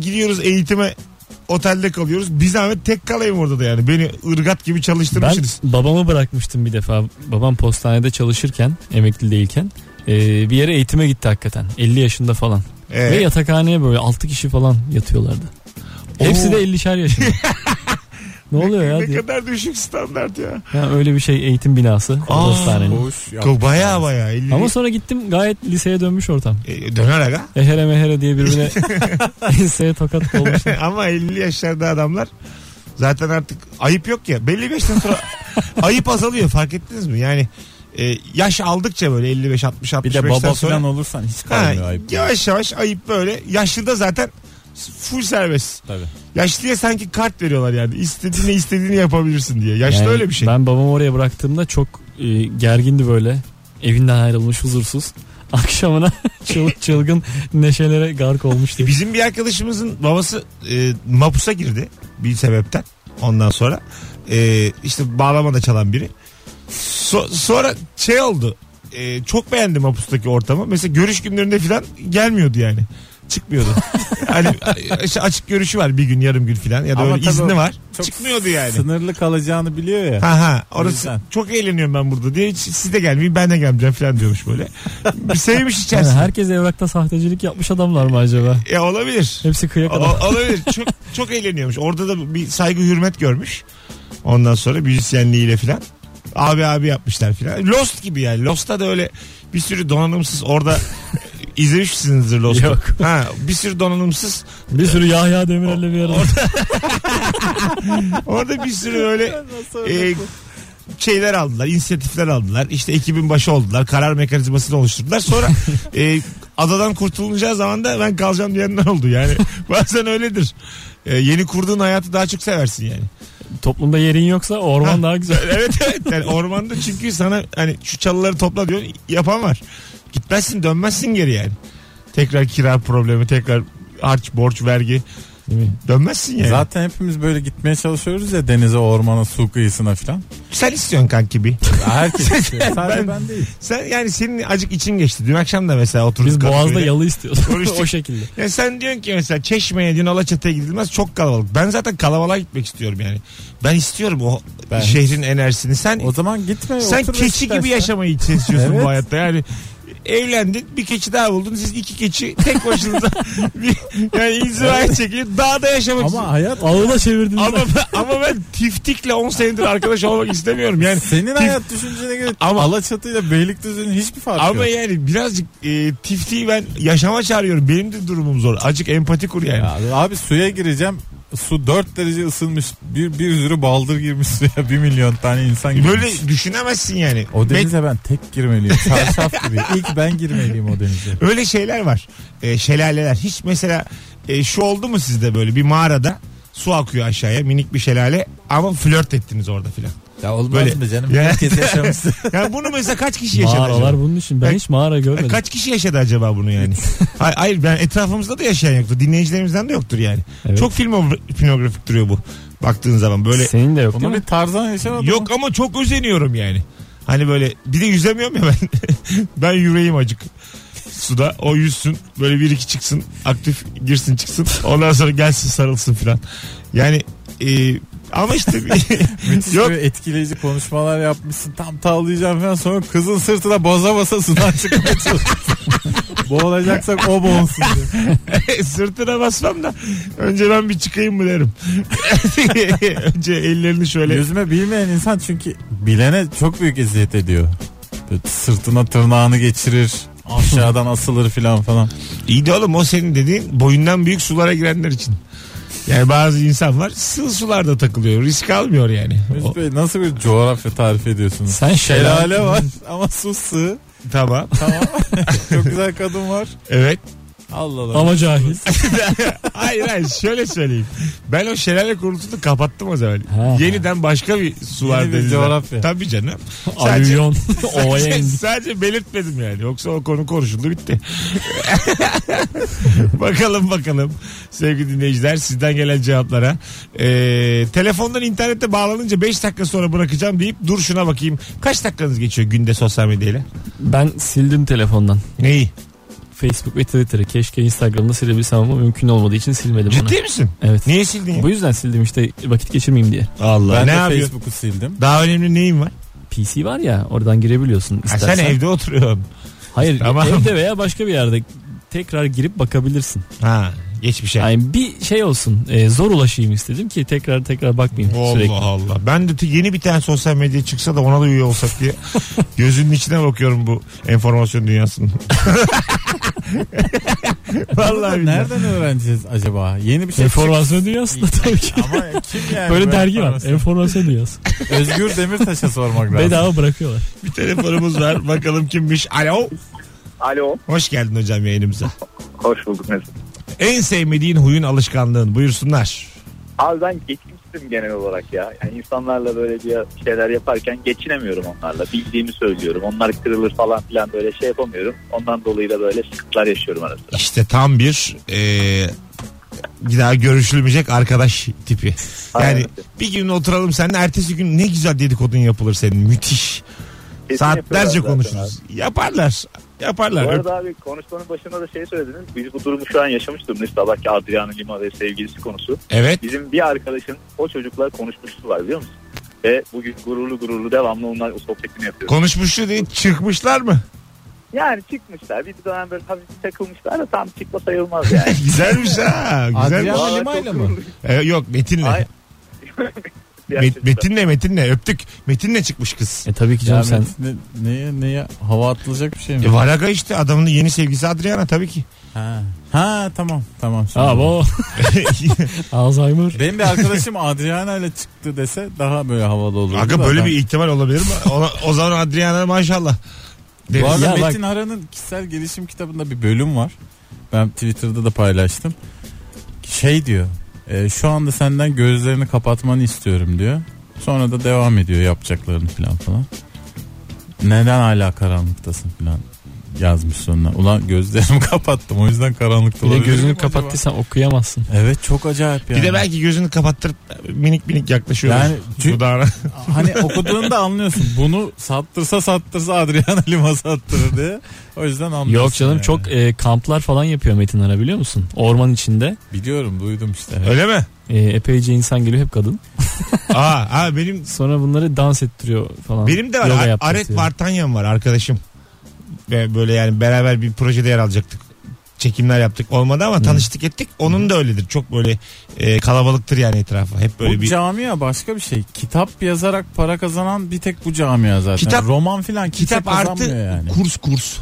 Speaker 2: gidiyoruz eğitime otelde kalıyoruz. Bir zahmet tek kalayım orada da yani. Beni ırgat gibi
Speaker 3: Ben
Speaker 2: çalıştırmışsınız.
Speaker 3: babamı bırakmıştım bir defa. Babam postanede çalışırken, emekli değilken. e, bir yere eğitime gitti hakikaten. 50 yaşında falan.
Speaker 2: Ee,
Speaker 3: Ve yatakhaneye böyle 6 kişi falan yatıyorlardı. Hepsi
Speaker 2: Oo.
Speaker 3: de 50'şer
Speaker 4: *laughs*
Speaker 3: yaşında. ne oluyor ya
Speaker 2: ne
Speaker 3: diye.
Speaker 2: kadar düşük standart ya.
Speaker 3: Ya öyle bir şey eğitim binası
Speaker 2: Aa.
Speaker 3: postanenin.
Speaker 4: Koğuş yap.
Speaker 2: Baya baya. elli-
Speaker 3: Ama sonra gittim gayet liseye dönmüş ortam.
Speaker 2: E, döner aga. *laughs*
Speaker 3: Ehere mehere diye
Speaker 4: *laughs*
Speaker 3: birbirine *laughs* enseye tokat olmuşlar.
Speaker 2: Ama 50 yaşlarda adamlar zaten artık ayıp yok ya. Belli bir yaştan
Speaker 4: *laughs*
Speaker 2: sonra ayıp azalıyor fark ettiniz mi? Yani e, yaş aldıkça böyle 55 60
Speaker 4: Bir
Speaker 2: 65'ten
Speaker 4: de baba
Speaker 2: sonra
Speaker 4: falan olursan hiç
Speaker 2: ha,
Speaker 4: kalmıyor ayıp.
Speaker 2: yavaş yavaş ayıp böyle. Yaşlıda zaten full serbest.
Speaker 4: Tabii.
Speaker 2: Yaşlıya sanki kart veriyorlar yani. İstediğini istediğini yapabilirsin diye. Yaşlı
Speaker 3: Yani
Speaker 2: öyle bir şey.
Speaker 3: Ben babamı oraya bıraktığımda çok e, gergindi böyle. Evinden ayrılmış huzursuz. *laughs* Akşamına çıl, çılgın neşelere gark olmuştu.
Speaker 2: E, Bizim bir arkadaşımızın babası e, mapusa girdi bir sebepten. Ondan sonra e, işte bağlama da çalan biri. So- sonra şey oldu. E, çok beğendim mapustaki ortamı. Mesela görüş günlerinde falan gelmiyordu yani.
Speaker 4: *laughs*
Speaker 2: Çıkmıyordu. hani işte açık görüşü var bir gün yarım gün falan ya da
Speaker 4: Ama
Speaker 2: öyle
Speaker 4: tabii
Speaker 2: izni
Speaker 4: o
Speaker 2: var.
Speaker 4: çok
Speaker 2: Çıkmıyordu yani.
Speaker 4: Sınırlı kalacağını biliyor ya.
Speaker 2: Ha ha
Speaker 4: O
Speaker 2: orası
Speaker 4: yüzden.
Speaker 2: çok eğleniyorum ben burada diye hiç siz de gelmeyin ben de gelmeyeceğim falan diyormuş
Speaker 4: *laughs*
Speaker 2: böyle. Bir sevmiş
Speaker 3: Yani
Speaker 2: içerisinde.
Speaker 3: herkes evrakta sahtecilik yapmış adamlar mı acaba?
Speaker 2: E, olabilir.
Speaker 3: Hepsi kıyak
Speaker 2: O- *laughs*
Speaker 3: adam.
Speaker 2: olabilir. Çok çok eğleniyormuş. Orada da bir saygı hürmet görmüş. Ondan sonra müzisyenliğiyle filan. Abi abi yapmışlar filan. Lost gibi yani. Lost'ta da öyle bir sürü donanımsız orada izlemişsinizdir Lost'u.
Speaker 3: Yok.
Speaker 2: Ha, bir sürü donanımsız.
Speaker 3: Bir sürü Yahya Demirel'le bir arada.
Speaker 2: Orada bir sürü öyle e, şeyler aldılar, inisiyatifler aldılar. İşte ekibin başı oldular, karar mekanizmasını oluşturdular. Sonra e, adadan kurtulunacağı zaman da ben kalacağım diyenler oldu. Yani *laughs* bazen öyledir. E, yeni kurduğun hayatı daha çok seversin yani.
Speaker 3: *laughs* Toplumda yerin yoksa orman daha güzel.
Speaker 2: Evet evet. *laughs* Yani ormanda çünkü sana hani şu çalıları topla diyor yapan var. Gitmezsin dönmezsin geri yani. Tekrar kira problemi, tekrar harç, borç, vergi.
Speaker 3: Değil mi?
Speaker 2: Dönmezsin yani.
Speaker 4: Zaten hepimiz böyle gitmeye çalışıyoruz ya denize, ormana, su kıyısına falan.
Speaker 2: Sen istiyorsun kanki bir.
Speaker 4: Herkes istiyor. Sadece ben, değil.
Speaker 2: Sen yani senin acık için geçti. Dün akşam da mesela oturduk.
Speaker 3: Biz Boğaz'da
Speaker 2: kafede.
Speaker 3: yalı *laughs* istiyoruz.
Speaker 2: Konuştuk.
Speaker 3: o şekilde.
Speaker 2: Yani sen diyorsun ki mesela Çeşme'ye dün Alaçatı'ya gidilmez çok kalabalık. Ben zaten kalabalığa gitmek istiyorum yani. Ben istiyorum o
Speaker 4: Ben-
Speaker 2: şehrin enerjisini. Sen
Speaker 4: O zaman gitme.
Speaker 2: sen
Speaker 4: otur
Speaker 2: keçi
Speaker 4: Beşiktaş'ta.
Speaker 2: gibi yaşamayı istiyorsun
Speaker 4: Evet.
Speaker 2: bu hayatta. Yani evlendin bir keçi daha buldun. Siz iki keçi tek
Speaker 4: *laughs*
Speaker 2: başınıza bir, yani inzivaya çekilip dağda yaşamak
Speaker 4: Ama
Speaker 2: istiyorsun.
Speaker 4: hayat
Speaker 3: Ağla çevirdiniz.
Speaker 2: Ama, ama ben tiftikle 10 senedir arkadaş olmak istemiyorum.
Speaker 4: *laughs*
Speaker 2: Yani
Speaker 4: senin hayat düşüncene göre
Speaker 2: Ama-
Speaker 4: ama, Alaçatı'yla Beylikdüzü'nün hiçbir farkı
Speaker 2: Ama
Speaker 4: yok.
Speaker 2: yani birazcık e, tiftiği ben yaşama çağırıyorum. Benim de durumum zor. Acık empati kur yani.
Speaker 4: Ya abi suya gireceğim. Su 4 derece ısınmış. Bir, bir sürü baldır girmiş suya. 1 milyon tane insan girmiş.
Speaker 2: Böyle düşünemezsin yani.
Speaker 4: O
Speaker 2: Met-
Speaker 4: denize ben tek girmeliyim. Çarşaf gibi. İlk ben girmeliyim o denize.
Speaker 2: öyle şeyler var. E, şelaleler. Hiç mesela e, şu oldu mu sizde böyle bir mağarada su akıyor aşağıya minik bir şelale ama flört ettiniz orada filan.
Speaker 4: Ya olmaz
Speaker 2: Böyle-
Speaker 4: mı canım?
Speaker 2: Ya.
Speaker 4: Herkes yaşamış. *laughs*
Speaker 2: Yani bunu mesela kaç kişi yaşadı
Speaker 3: Mağaralar
Speaker 2: acaba?
Speaker 3: bunun için. Ben
Speaker 2: Ben-
Speaker 3: hiç mağara görmedim.
Speaker 2: Kaç kişi yaşadı acaba bunu yani? hayır, hayır ben etrafımızda da yaşayan yoktu. Dinleyicilerimizden de yoktur yani.
Speaker 3: Evet.
Speaker 2: Çok film filmografik duruyor bu. Baktığın zaman böyle
Speaker 3: Senin de yok değil
Speaker 4: Bunu
Speaker 3: mi?
Speaker 4: bir tarzan yaşamadı
Speaker 2: Yok ama çok özeniyorum yani. Hani böyle bir de yüzemiyorum ya ben. *laughs* ben yüreğim acık. Suda o yüzsün böyle bir iki çıksın aktif girsin çıksın ondan sonra gelsin sarılsın filan. Yani e, ama işte
Speaker 4: Müthiş
Speaker 2: yok
Speaker 4: böyle etkileyici konuşmalar yapmışsın. Tam tavlayacağım falan sonra kızın sırtına boza basa sudan çıkmaya çalışıyorsun. *laughs* Boğulacaksak o boğulsun
Speaker 2: *laughs*
Speaker 4: diye.
Speaker 2: sırtına basmam da önce ben bir çıkayım mı derim. *laughs* önce ellerini şöyle
Speaker 4: Yüzme bilmeyen insan çünkü bilene çok büyük eziyet ediyor. Böyle sırtına tırnağını geçirir. Aşağıdan asılır falan falan.
Speaker 2: İyi de oğlum o senin dediğin boyundan büyük sulara girenler için. Yani bazı insan var sığ sularda takılıyor risk almıyor yani. O-
Speaker 4: Mesut Bey nasıl bir coğrafya tarif ediyorsunuz?
Speaker 3: Sen şelale
Speaker 4: Şelale var ama su sığ.
Speaker 2: tamam
Speaker 4: Tamam.
Speaker 3: *laughs*
Speaker 4: çok güzel kadın var.
Speaker 2: evet
Speaker 4: Allah Allah.
Speaker 3: Ama cahil.
Speaker 2: hayır hayır şöyle söyleyeyim. Ben o şelale kurultusunu kapattım o zaman.
Speaker 3: Ha.
Speaker 2: Yeniden başka bir sular
Speaker 4: Yeni bir
Speaker 2: denizler.
Speaker 4: coğrafya.
Speaker 2: Tabii canım. Sadece, *laughs*
Speaker 3: Avyon. Ovaya
Speaker 2: sadece,
Speaker 3: indik.
Speaker 2: sadece belirtmedim yani. Yoksa o konu konuşuldu
Speaker 4: *laughs*
Speaker 2: bitti. bakalım bakalım sevgili dinleyiciler sizden gelen cevaplara. Ee, telefondan internette bağlanınca 5 dakika sonra bırakacağım deyip dur şuna bakayım. Kaç dakikanız geçiyor günde sosyal medyayla?
Speaker 3: Ben sildim telefondan.
Speaker 2: Neyi?
Speaker 3: Facebook ve Twitter'ı. Keşke Instagram'da silebilsem ama mümkün olmadığı için silmedim onu.
Speaker 2: Ciddi misin?
Speaker 3: Evet.
Speaker 2: Niye sildin ya?
Speaker 3: Bu yüzden sildim işte vakit geçirmeyeyim diye.
Speaker 2: Allah.
Speaker 4: Ben
Speaker 2: ne
Speaker 4: de
Speaker 2: yapıyorsun?
Speaker 4: Facebook'u sildim.
Speaker 2: Daha önemli neyin var?
Speaker 3: PC var ya oradan girebiliyorsun
Speaker 2: Ha,
Speaker 3: istersen.
Speaker 2: sen evde oturuyorsun.
Speaker 3: Hayır
Speaker 2: Tamam.
Speaker 3: evde veya başka bir yerde tekrar girip bakabilirsin.
Speaker 2: Ha, geçmiş şey.
Speaker 3: Yani bir şey olsun e, zor ulaşayım istedim ki tekrar tekrar bakmayayım
Speaker 2: Allah
Speaker 3: sürekli.
Speaker 2: Allah. Ben de t- yeni bir tane sosyal medya çıksa da ona da üye olsak diye gözünün içine bakıyorum bu enformasyon dünyasının. Vallahi billahi.
Speaker 4: Nereden öğreneceğiz acaba? Yeni bir şey
Speaker 3: Enformasyon dünyasında
Speaker 2: *laughs*
Speaker 3: tabii ki.
Speaker 4: Ama kim yani?
Speaker 3: Böyle dergi var.
Speaker 4: parası?
Speaker 3: Enformasyon dünyası.
Speaker 4: *laughs* Özgür Demirtaş'a sormak lazım.
Speaker 3: Bedava bırakıyorlar.
Speaker 2: Bir telefonumuz var. Bakalım kimmiş. Alo.
Speaker 5: Alo.
Speaker 2: Hoş geldin hocam yayınımıza.
Speaker 5: Hoş bulduk Mesut.
Speaker 2: En sevmediğin huyun alışkanlığın. Buyursunlar.
Speaker 5: Abi ben geçimsizim genel olarak ya. Yani insanlarla böyle bir şeyler yaparken geçinemiyorum onlarla. Bildiğimi söylüyorum. Onlar kırılır falan filan böyle şey yapamıyorum. Ondan dolayı da böyle sıkıntılar yaşıyorum ara sıra.
Speaker 2: İşte tam bir eee, bir daha görüşülmeyecek arkadaş tipi. Yani
Speaker 5: Aynen.
Speaker 2: bir gün oturalım seninle ertesi gün ne güzel dedikodun yapılır senin. Müthiş.
Speaker 5: Kesin yapıyorlar
Speaker 2: Saatlerce
Speaker 5: zaten
Speaker 2: konuşuruz.
Speaker 5: abi.
Speaker 2: Yaparlar. Yaparlar.
Speaker 5: Bu arada abi konuşmanın başında da şey söylediniz. Biz bu durumu şu an yaşamış durumdayız. Sabahki Adriano Lima ve sevgilisi konusu.
Speaker 2: Evet.
Speaker 5: Bizim bir arkadaşın o çocukla konuşmuşluğu var biliyor musun? Ve bugün gururlu gururlu devamlı onlar o sohbetini yapıyoruz.
Speaker 2: Konuşmuştu diye çıkmışlar mı? *laughs*
Speaker 5: Yani çıkmışlar. Bir dönem böyle hafif takılmışlar da tam çıkma
Speaker 2: *laughs*
Speaker 5: sayılmaz yani.
Speaker 2: Güzelmiş E, ha. Güzelmiş.
Speaker 4: Adrian-
Speaker 5: Vallahi
Speaker 4: Limayla
Speaker 5: çok
Speaker 4: mı?
Speaker 5: gururluyum.
Speaker 2: Ee, yok Metin'le.
Speaker 5: Ay- *laughs* bir
Speaker 2: Met-
Speaker 5: arkadaşım.
Speaker 2: Metinle Metinle öptük. Metinle çıkmış kız.
Speaker 3: E tabii ki
Speaker 4: Ya
Speaker 3: canım sen.
Speaker 4: Metin, ne- neye neye hava atılacak bir şey mi?
Speaker 2: E, Varaga işte adamın yeni sevgisi Adriana tabii
Speaker 5: *laughs*
Speaker 2: ki.
Speaker 4: Ha. ha tamam tamam. şimdi.
Speaker 3: Aa bu. Alzheimer.
Speaker 4: Benim bir arkadaşım Adriana ile çıktı dese daha böyle havalı olur.
Speaker 2: Aga böyle bir ihtimal olabilir mi? Ona- o zaman Adriana maşallah.
Speaker 4: Bu
Speaker 2: Deriz.
Speaker 4: arada
Speaker 3: Ya bak-
Speaker 4: Metin Aran'ın kişisel gelişim kitabında bir bölüm var. Ben Twitter'da da paylaştım. Şey diyor. e, şu anda senden gözlerini kapatmanı istiyorum diyor. Sonra da devam ediyor yapacaklarını falan falan. Neden hala karanlıktasın falan yazmış sonuna. Ulan gözlerimi *laughs* kapattım o yüzden karanlıkta
Speaker 3: Bir de
Speaker 4: olabilir miyim
Speaker 3: gözünü
Speaker 4: acaba?
Speaker 3: kapattıysan okuyamazsın.
Speaker 4: Evet çok acayip yani.
Speaker 2: Bir de belki gözünü kapattırıp minik minik yaklaşıyor.
Speaker 4: Yani tü-
Speaker 5: *laughs*
Speaker 2: dudağına.
Speaker 4: Hani okuduğunda anlıyorsun. Bunu sattırsa sattırsa Adriana Lima sattırır diye. O yüzden anlıyorsun.
Speaker 3: Yok canım
Speaker 4: yani.
Speaker 3: çok e, kamplar falan yapıyor Metin Ara biliyor musun? Orman içinde.
Speaker 4: Biliyorum duydum işte.
Speaker 2: Öyle mi?
Speaker 3: E, epeyce insan geliyor hep kadın.
Speaker 2: Aa, aa benim
Speaker 3: Sonra bunları dans ettiriyor falan.
Speaker 2: benim de var.
Speaker 3: Yoga
Speaker 2: A-
Speaker 3: yaptırtıyor.
Speaker 2: Aret Vartanyam var arkadaşım. Ve böyle yani beraber bir projede yer alacaktık. Çekimler yaptık olmadı ama tanıştık ettik. Onun da öyledir. Çok böyle e, kalabalıktır yani etrafı. Hep böyle
Speaker 4: bu
Speaker 2: bir
Speaker 4: camia başka bir şey. Kitap yazarak para kazanan bir tek bu camia zaten.
Speaker 2: Kitap-
Speaker 4: Roman filan kimse
Speaker 2: kitap artı
Speaker 4: kazanmıyor yani.
Speaker 2: kurs kurs.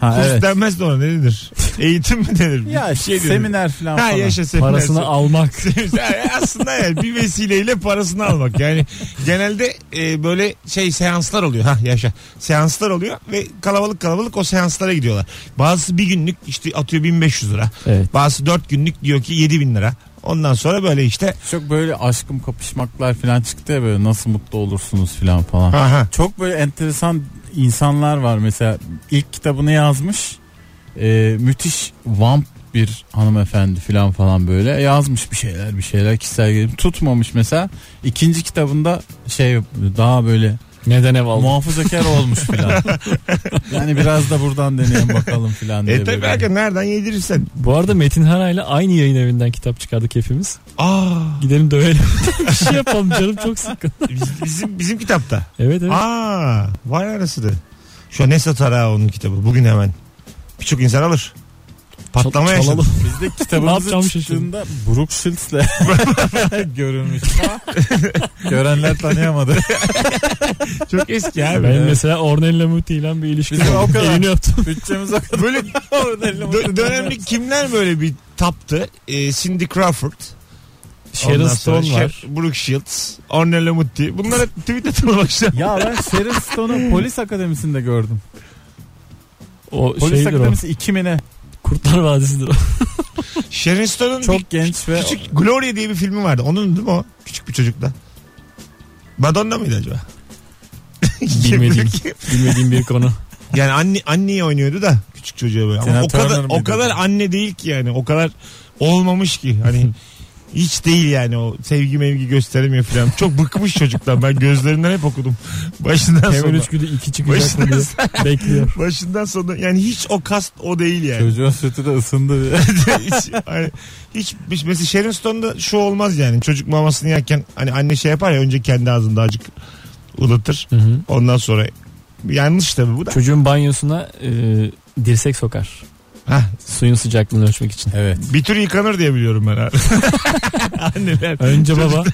Speaker 4: Ha,
Speaker 2: Kurs
Speaker 4: evet.
Speaker 2: denmez de ona ne denir? Eğitim mi denir?
Speaker 4: Ya
Speaker 2: Bir
Speaker 4: şey
Speaker 2: denir.
Speaker 4: seminer filan
Speaker 2: Ha
Speaker 4: falan.
Speaker 2: yaşa seminer.
Speaker 3: Parasını
Speaker 2: *laughs*
Speaker 3: almak.
Speaker 2: Yani aslında yani bir vesileyle parasını almak. Yani genelde e, böyle şey seanslar oluyor. Ha yaşa. Seanslar oluyor ve kalabalık kalabalık o seanslara gidiyorlar. Bazısı bir günlük işte atıyor 1500 lira.
Speaker 3: Evet.
Speaker 2: Bazısı 4 günlük diyor ki 7000 lira. Ondan sonra böyle işte
Speaker 4: Çok böyle aşkım kapışmaklar filan çıktı ya böyle nasıl mutlu olursunuz filan falan.
Speaker 2: ha ha.
Speaker 4: Çok böyle enteresan insanlar var mesela ilk kitabını yazmış e, müthiş vamp bir hanımefendi filan falan böyle yazmış bir şeyler bir şeyler kişisel gelişim tutmamış mesela ikinci kitabında şey daha böyle
Speaker 3: Neden ev aldın?
Speaker 4: muhafazakar olmuş filan yani biraz da buradan deneyelim bakalım filan diye
Speaker 2: E tabi
Speaker 4: böyle.
Speaker 2: belki nereden yedirirsen.
Speaker 3: Bu arada Metin Hara ile aynı yayın evinden kitap çıkardık hepimiz.
Speaker 2: Aa
Speaker 3: Gidelim dövelim. *laughs* bir şey yapalım canım çok sıkkın.
Speaker 2: biz- bizim, bizim kitapta.
Speaker 3: Evet evet.
Speaker 2: Aa vay anasını. Şu an ne satar ha onun kitabı. Bugün hemen. Birçok insan alır. Patlama
Speaker 3: Çal-
Speaker 2: yaşadı.
Speaker 3: çalalım.
Speaker 4: biz de
Speaker 3: Ne
Speaker 4: kitabımızın
Speaker 3: yapacağım
Speaker 4: çıktığında Brooke Shields'le *laughs* görünmüş görenler tanıyamadı
Speaker 2: Çok eski abi.
Speaker 3: Ben
Speaker 2: Ya.
Speaker 3: mesela Ornella Muti ile bir ilişki
Speaker 4: Bizim o
Speaker 3: kurdum.
Speaker 4: kadar.
Speaker 3: Evini öptüm.
Speaker 4: bütçemiz o kadar
Speaker 2: Böyle dö- dönemlik kimler böyle bir taptı? Ee, Cindy Crawford.
Speaker 3: Sharon
Speaker 2: Ondan sonra şey-
Speaker 3: Stone
Speaker 2: Sher-
Speaker 3: var.
Speaker 2: Brooke Shields. Ornella Mutti. Bunlara tweet
Speaker 3: *laughs*
Speaker 2: atılmak işte.
Speaker 4: Ya ben Sharon Stone'u polis akademisinde gördüm.
Speaker 3: O
Speaker 4: Polis
Speaker 3: şeydir o.
Speaker 4: akademisi 2 mine.
Speaker 3: Kurtlar Vadisi'dir o.
Speaker 2: Sharon Stone'un bir
Speaker 4: Çok genç ve
Speaker 2: küçük Gloria diye bir filmi vardı. Onun değil mi o? Küçük bir çocukla. Madonna mıydı acaba? *laughs*
Speaker 3: Bilmediğim, bilmediğim bir
Speaker 4: *laughs*
Speaker 3: konu.
Speaker 2: yani anne anneyi oynuyordu da küçük çocuğa böyle. Ama
Speaker 4: Tina
Speaker 2: o kadar
Speaker 4: Turner
Speaker 2: o
Speaker 4: mıydı?
Speaker 2: kadar anne değil ki yani. O kadar olmamış ki. Hani hiç değil yani o sevgi mevgi gösteremiyor falan. Çok bıkmış çocuktan. Ben gözlerinden hep okudum. *laughs* Başından
Speaker 3: Temel
Speaker 2: sonra.
Speaker 3: Üçgü'de iki çıkacak mı diye
Speaker 2: *laughs*
Speaker 3: bekliyor.
Speaker 2: Başından sonuna yani hiç o kast o değil yani.
Speaker 4: çocuğun sütü de ısındı.
Speaker 2: *laughs* hiç, hani hiç, hiç- mesela Sharon Stone'da şu olmaz yani. Çocuk mamasını yerken hani anne şey yapar ya önce kendi ağzında acık ılıtır.
Speaker 3: Hı hı.
Speaker 2: Ondan sonra yanlış tabii bu da.
Speaker 3: Çocuğun banyosuna e, dirsek sokar.
Speaker 2: Hah,
Speaker 3: Suyun sıcaklığını ölçmek için.
Speaker 4: evet.
Speaker 2: bir tür yıkanır diye biliyorum ben
Speaker 3: *laughs*
Speaker 2: abi. Anneler. *laughs*
Speaker 3: Önce baba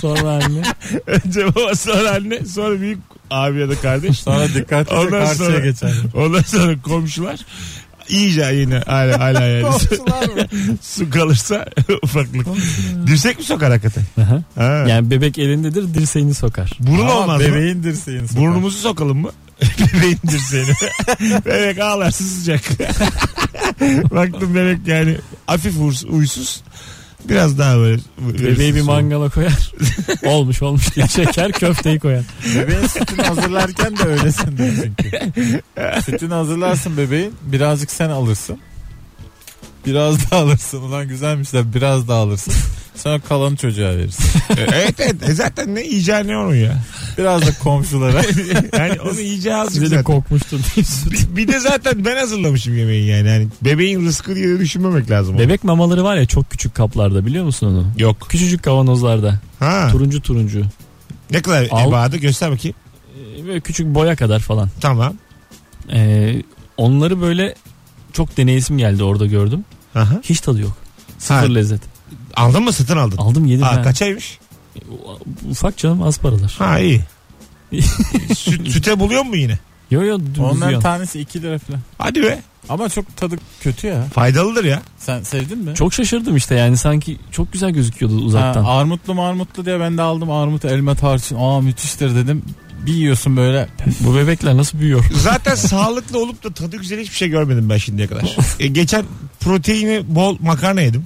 Speaker 3: sonra anne.
Speaker 2: Önce baba sonra anne sonra büyük abi ya da kardeş.
Speaker 4: Sonra dikkatlice
Speaker 2: Ondan
Speaker 4: karşıya
Speaker 2: sonra-
Speaker 4: geçer.
Speaker 2: Ondan sonra komşular. İyice yine hala hala
Speaker 3: *laughs*
Speaker 2: yani *laughs* su kalırsa *laughs* ufaklık. Dirsek mi sokar hakikaten?
Speaker 3: Aha.
Speaker 2: Ha.
Speaker 3: Yani bebek elindedir dirseğini sokar.
Speaker 2: Burun
Speaker 4: Ama
Speaker 2: olmaz mı?
Speaker 4: bebeğin dirseğini sokar.
Speaker 2: Burnumuzu sokalım mı? *laughs* Bebeğin dirseğini. *laughs* bebek ağlarsa sıcak. *laughs* Baktım bebek yani hafif uğurs- uysuz. Biraz daha böyle.
Speaker 3: Bebeği bir mangala
Speaker 2: *laughs*
Speaker 3: koyar. olmuş olmuş diye çeker köfteyi koyar.
Speaker 4: Bebeğin sütünü hazırlarken de öylesin diyor
Speaker 2: *laughs*
Speaker 4: çünkü. sütünü hazırlarsın bebeğin. Birazcık sen alırsın. Biraz daha alırsın. Ulan güzelmiş de biraz daha alırsın. Sonra kalanı çocuğa verirsin.
Speaker 2: evet evet. E zaten ne yiyeceği ne onun ya.
Speaker 4: Biraz da komşulara.
Speaker 2: Yani onu
Speaker 3: *laughs*
Speaker 2: yiyeceği azıcık
Speaker 3: Size de
Speaker 2: zaten.
Speaker 3: kokmuştur diye süt.
Speaker 2: bir, bir de zaten ben hazırlamışım yemeği yani. yani bebeğin rızkı diye de düşünmemek lazım. onu.
Speaker 3: Bebek mamaları var ya çok küçük kaplarda biliyor musun onu?
Speaker 2: Yok.
Speaker 3: Küçücük kavanozlarda.
Speaker 2: Ha.
Speaker 3: Turuncu turuncu.
Speaker 2: Ne kadar
Speaker 3: Al.
Speaker 2: ebadı göster bakayım.
Speaker 3: Ee, Böyle küçük boya kadar falan.
Speaker 2: Tamam.
Speaker 3: Ee, onları böyle çok deneyesim geldi orada gördüm.
Speaker 2: Aha.
Speaker 3: Hiç tadı yok.
Speaker 2: Ha,
Speaker 3: Sıfır lezzet.
Speaker 2: Aldın mı satın aldın.
Speaker 3: Aldım yedim.
Speaker 2: Aa,
Speaker 3: ha.
Speaker 2: kaçaymış?
Speaker 3: Ufak canım az paralar.
Speaker 2: Ha
Speaker 3: *laughs*
Speaker 2: iyi. Süt, süte buluyor mu yine?
Speaker 3: Yo yo dümdüz
Speaker 4: Onların
Speaker 3: yiyorsun.
Speaker 4: tanesi 2 lira falan.
Speaker 2: Hadi be.
Speaker 4: Ama çok tadı kötü ya.
Speaker 2: Faydalıdır ya.
Speaker 4: Sen sevdin mi?
Speaker 3: Çok şaşırdım işte yani sanki çok güzel gözüküyordu
Speaker 4: Ha,
Speaker 3: uzaktan.
Speaker 4: armutlu marmutlu diye ben de aldım armut elma tarçın. Aa müthiştir dedim. Bir yiyorsun böyle.
Speaker 3: Bu bebekler nasıl büyüyor?
Speaker 2: *laughs* Zaten sağlıklı olup da tadı güzel hiçbir şey görmedim ben şimdiye kadar. E, geçen proteini bol makarna yedim.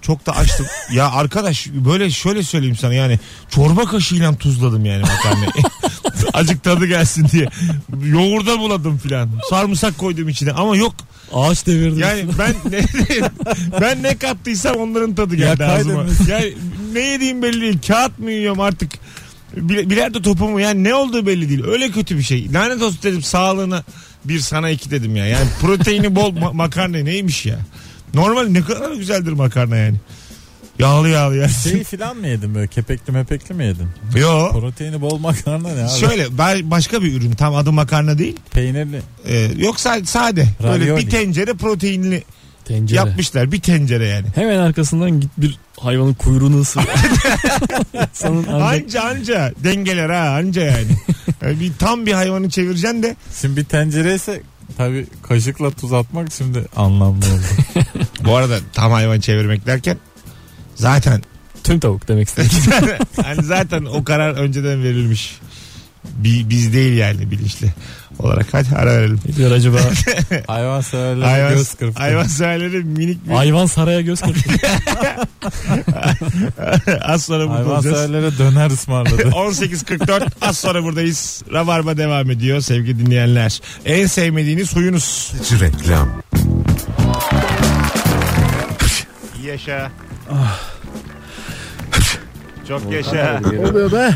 Speaker 2: Çok da açtım. ya arkadaş böyle şöyle söyleyeyim sana yani çorba kaşığıyla tuzladım yani makarnayı. *laughs* Acık tadı gelsin diye. Yoğurda buladım filan. Sarımsak koydum içine ama yok.
Speaker 3: Ağaç devirdim.
Speaker 2: Yani ben ne, ben ne kattıysam onların tadı geldi ağzıma.
Speaker 4: kaydedin.
Speaker 2: Yani ne yediğim belli değil. Kağıt mı yiyorum artık? Bile- Bilardo topu mu? Yani ne olduğu belli değil. Öyle kötü bir şey. Lanet olsun dedim sağlığına bir sana iki dedim ya. Yani proteini bol ma- makarna neymiş ya? Normal ne kadar güzeldir makarna yani. Yağlı yağlı yani.
Speaker 4: Şeyi falan şey mı yedin böyle kepekli mepekli mi yedin?
Speaker 2: *laughs* Yo.
Speaker 4: Proteini bol makarna ne abi?
Speaker 2: Şöyle ben başka bir ürün tam adı makarna değil.
Speaker 4: Peynirli.
Speaker 2: Ee, yok sa- sade. Böyle
Speaker 4: Ravioli.
Speaker 2: bir tencere proteinli
Speaker 3: Tencere.
Speaker 2: yapmışlar. Bir tencere yani.
Speaker 3: Hemen arkasından git bir hayvanın kuyruğunu
Speaker 4: *laughs*
Speaker 3: ısır. İnsanın ancak
Speaker 2: Anca anca dengeler ha anca yani. Yani bir tam bir hayvanı çevireceksin de
Speaker 4: Şimdi bir tencere ise tabii kaşıkla tuz atmak şimdi anlamlı *laughs* oldu.
Speaker 2: bu arada tam hayvan çevirmek derken zaten *laughs*
Speaker 3: tüm tavuk demek istedim.
Speaker 2: hani zaten o karar önceden verilmiş. Bi- biz değil yani bilinçli olarak hadi ara verelim.
Speaker 3: Ne diyor
Speaker 4: *laughs*
Speaker 3: acaba?
Speaker 4: Hayvan severler
Speaker 2: Hayvan,
Speaker 4: göz kırptı.
Speaker 2: hayvan sahileri minik bir
Speaker 3: Hayvan saraya göz kırpıyor.
Speaker 2: *laughs* az sonra burada
Speaker 4: Hayvan
Speaker 2: olacağız.
Speaker 4: severlere
Speaker 2: *laughs*
Speaker 4: döner ısmarladı.
Speaker 2: 18.44 az sonra buradayız. Rabarba devam ediyor sevgili dinleyenler. En sevmediğiniz huyunuz.
Speaker 6: Reklam.
Speaker 2: Yaşa. Çok yaşa.
Speaker 4: *laughs* oluyor be?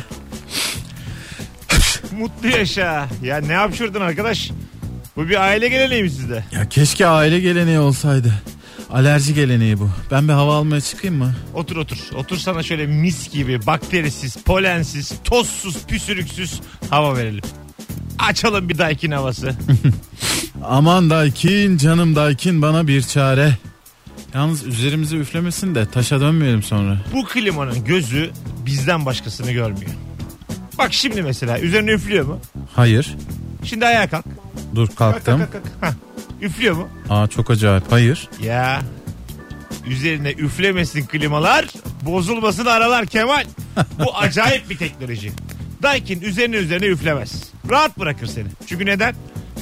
Speaker 2: Mutlu yaşa. Ya ne hapşırdın arkadaş? Bu bir aile geleneği mi sizde?
Speaker 4: Ya keşke aile geleneği olsaydı. Alerji geleneği bu. Ben bir hava almaya çıkayım mı?
Speaker 2: Otur otur. Otur sana şöyle mis gibi bakterisiz, polensiz, tozsuz, püsürüksüz hava verelim. Açalım bir daikin havası.
Speaker 4: Aman Daykin canım Daykin bana bir çare. Yalnız üzerimize üflemesin de taşa dönmeyelim sonra.
Speaker 2: Bu klimanın gözü bizden başkasını görmüyor. Bak şimdi mesela üzerine üflüyor mu?
Speaker 4: Hayır.
Speaker 2: Şimdi ayağa kalk.
Speaker 4: Dur kalktım.
Speaker 2: Kalk kalk. Hah. Üflüyor mu?
Speaker 4: Aa çok acayip. Hayır.
Speaker 2: Ya. Üzerine üflemesin klimalar, bozulmasın aralar Kemal. Bu acayip bir teknoloji. Daikin üzerine üzerine üflemez. Rahat bırakır seni. Çünkü neden?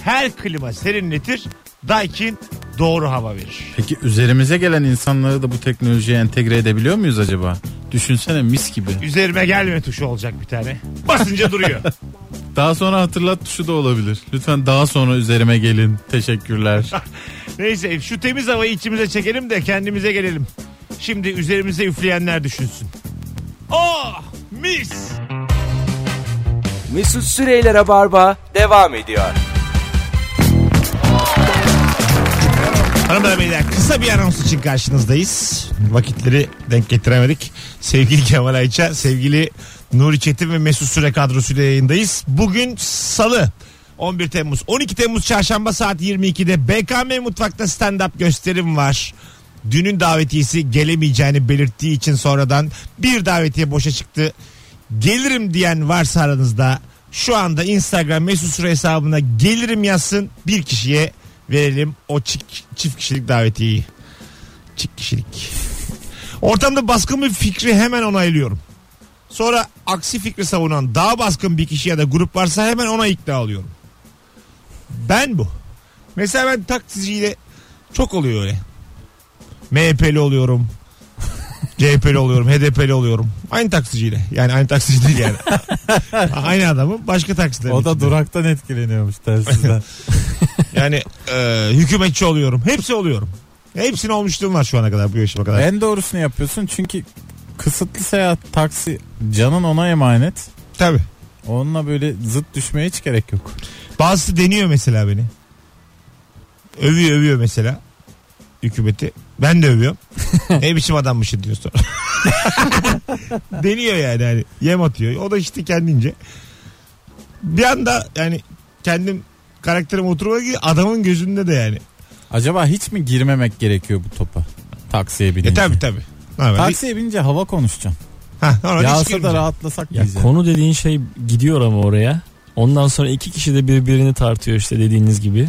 Speaker 2: Her klima serinletir, Daikin doğru hava verir.
Speaker 4: Peki üzerimize gelen insanları da bu teknolojiye entegre edebiliyor muyuz acaba? Düşünsene mis gibi.
Speaker 2: Üzerime gelme tuşu olacak bir tane. Basınca duruyor.
Speaker 4: Daha sonra hatırlat tuşu da olabilir. Lütfen daha sonra üzerime gelin.
Speaker 2: *laughs*
Speaker 4: Teşekkürler.
Speaker 2: Neyse şu temiz havayı içimize çekelim de kendimize gelelim. Şimdi üzerimize üfleyenler düşünsün. Oh mis!
Speaker 1: Mesut Süreyler'e barba devam ediyor.
Speaker 2: Hanımlar beyler kısa bir anons için karşınızdayız. Vakitleri denk getiremedik. Sevgili Kemal Ayça, sevgili Nuri Çetin ve Mesut Süre kadrosuyla yayındayız. Bugün salı 11 Temmuz. 12 Temmuz çarşamba saat 22'de BKM Mutfak'ta stand-up gösterim var. Dünün davetiyesi gelemeyeceğini belirttiği için sonradan bir davetiye boşa çıktı. Gelirim diyen varsa aranızda şu anda Instagram Mesut Süre hesabına gelirim yazsın bir kişiye verelim o çik- çift kişilik davetiyeyi. Çift kişilik. Ortamda baskın bir fikri hemen onaylıyorum. Sonra aksi fikri savunan daha baskın bir kişi ya da grup varsa hemen ona ikna alıyorum. Ben bu. Mesela ben taksiciyle çok oluyor öyle. MHP'li oluyorum. *laughs* CHP'li oluyorum, HDP'li oluyorum. Aynı taksiciyle. Yani aynı taksici değil
Speaker 4: *laughs*
Speaker 2: yani. aynı adamı başka taksiden.
Speaker 4: o da duraktan etkileniyormuş
Speaker 2: *laughs*
Speaker 4: tersizden.
Speaker 2: Yani e, hükümetçi oluyorum. Hepsi oluyorum. Hepsini olmuşluğum var şu ana kadar bu yaşıma kadar.
Speaker 4: en doğrusunu yapıyorsun çünkü kısıtlı seyahat taksi canın ona emanet.
Speaker 2: Tabii.
Speaker 4: Onunla böyle zıt düşmeye hiç gerek yok.
Speaker 2: Bazısı deniyor mesela beni. Övüyor övüyor mesela. Hükümeti. Ben de övüyorum. ne biçim adammışsın diyor sonra. *laughs* deniyor yani hani. Yem atıyor. O da işte kendince. Bir anda yani kendim karakterim oturmak gibi adamın gözünde de yani. E,
Speaker 4: Acaba hiç mi girmemek gerekiyor bu topa? Taksiye binince.
Speaker 2: E tabi tabi.
Speaker 4: Taksiye binince hava konuşacaksın.
Speaker 2: Ha, ona hiç
Speaker 4: Yağsa da
Speaker 2: girmeyeceğim.
Speaker 4: rahatlasak
Speaker 3: Ya
Speaker 4: diyeceğim.
Speaker 3: konu dediğin şey gidiyor ama oraya. Ondan sonra iki kişi de birbirini tartıyor işte dediğiniz gibi.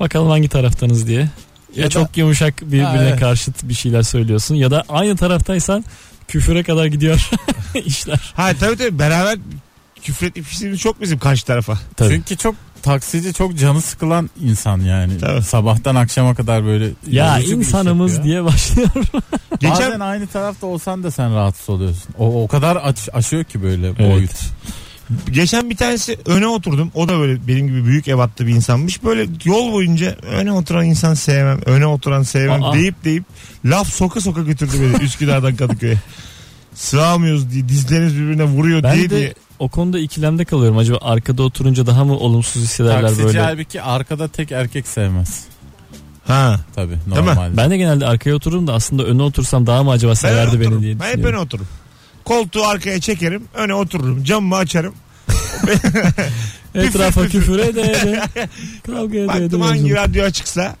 Speaker 3: Bakalım hangi taraftanız diye. Ya,
Speaker 4: Ya da-
Speaker 3: çok yumuşak birbirine
Speaker 4: Ha, evet.
Speaker 3: karşıt bir şeyler söylüyorsun ya da aynı taraftaysan küfüre kadar gidiyor *laughs* işler.
Speaker 2: Ha tabii tabii beraber küfür etmiş işimiz çok bizim karşı tarafa.
Speaker 3: Tabii.
Speaker 4: Çünkü çok taksici çok canı sıkılan insan yani.
Speaker 2: Tabii.
Speaker 4: Sabahtan akşama kadar böyle.
Speaker 3: Ya
Speaker 4: yorucu bir iş
Speaker 3: insanımız
Speaker 4: yapıyor.
Speaker 3: diye başlıyor.
Speaker 2: Geçen
Speaker 4: Bazen aynı tarafta olsan da sen rahatsız oluyorsun. O o kadar aç, aşıyor ki böyle boyut.
Speaker 2: geçen bir tanesi öne oturdum. O da böyle benim gibi büyük ev attı bir insanmış. Böyle yol boyunca öne oturan insan sevmem, öne oturan sevmem
Speaker 3: Aa.
Speaker 2: deyip deyip laf soka soka götürdü
Speaker 3: *laughs*
Speaker 2: beni Üsküdar'dan Kadıköy'e. Sığamıyoruz diye dizleriniz birbirine vuruyor
Speaker 3: Ben
Speaker 2: diye
Speaker 3: de
Speaker 2: diye.
Speaker 3: o konuda ikilemde kalıyorum. Acaba arkada oturunca daha mı olumsuz hissederler
Speaker 4: Taksici
Speaker 3: böyle?
Speaker 4: halbuki arkada tek erkek sevmez.
Speaker 2: Ha.
Speaker 4: Tabii
Speaker 2: mi?
Speaker 4: normalde.
Speaker 3: Ben de genelde arkaya otururum da aslında öne otursam daha mı acaba
Speaker 2: Ben öne
Speaker 3: severdi beni
Speaker 2: otururum.
Speaker 3: diye
Speaker 2: Ben hep öne
Speaker 3: düşünüyorum.
Speaker 2: otururum. Koltuğu arkaya çekerim, öne otururum. Camımı açarım.
Speaker 3: Etrafa
Speaker 2: Küfür,
Speaker 3: küfür
Speaker 2: *laughs*
Speaker 3: ede ede. Kavga ede ede.
Speaker 2: Baktım hangi radyo açıksa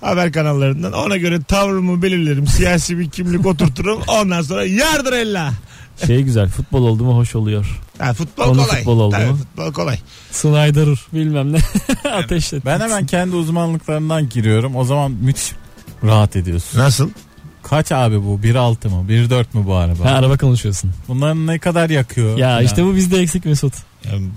Speaker 2: haber kanallarından ona göre tavrımı belirlerim. Siyasi bir kimlik oturturum. Ondan sonra yardır ella.
Speaker 3: Şey güzel futbol oldu mu hoş oluyor.
Speaker 2: Ha, futbol
Speaker 3: Onun
Speaker 2: kolay.
Speaker 3: futbol oldu
Speaker 2: Tabii,
Speaker 3: mu?
Speaker 2: futbol kolay.
Speaker 3: Snyder bilmem ne. *laughs* Ateşle.
Speaker 4: Ben hemen kendi uzmanlıklarından giriyorum. O zaman müthiş rahat ediyorsun.
Speaker 2: Nasıl?
Speaker 4: Kaç abi bu? 1.6 mı? 1.4 mü bu araba?
Speaker 3: Ha, araba konuşuyorsun.
Speaker 4: Bunların ne kadar yakıyor?
Speaker 3: Ya
Speaker 4: Yani.
Speaker 3: işte bu bizde eksik Mesut.
Speaker 2: Yani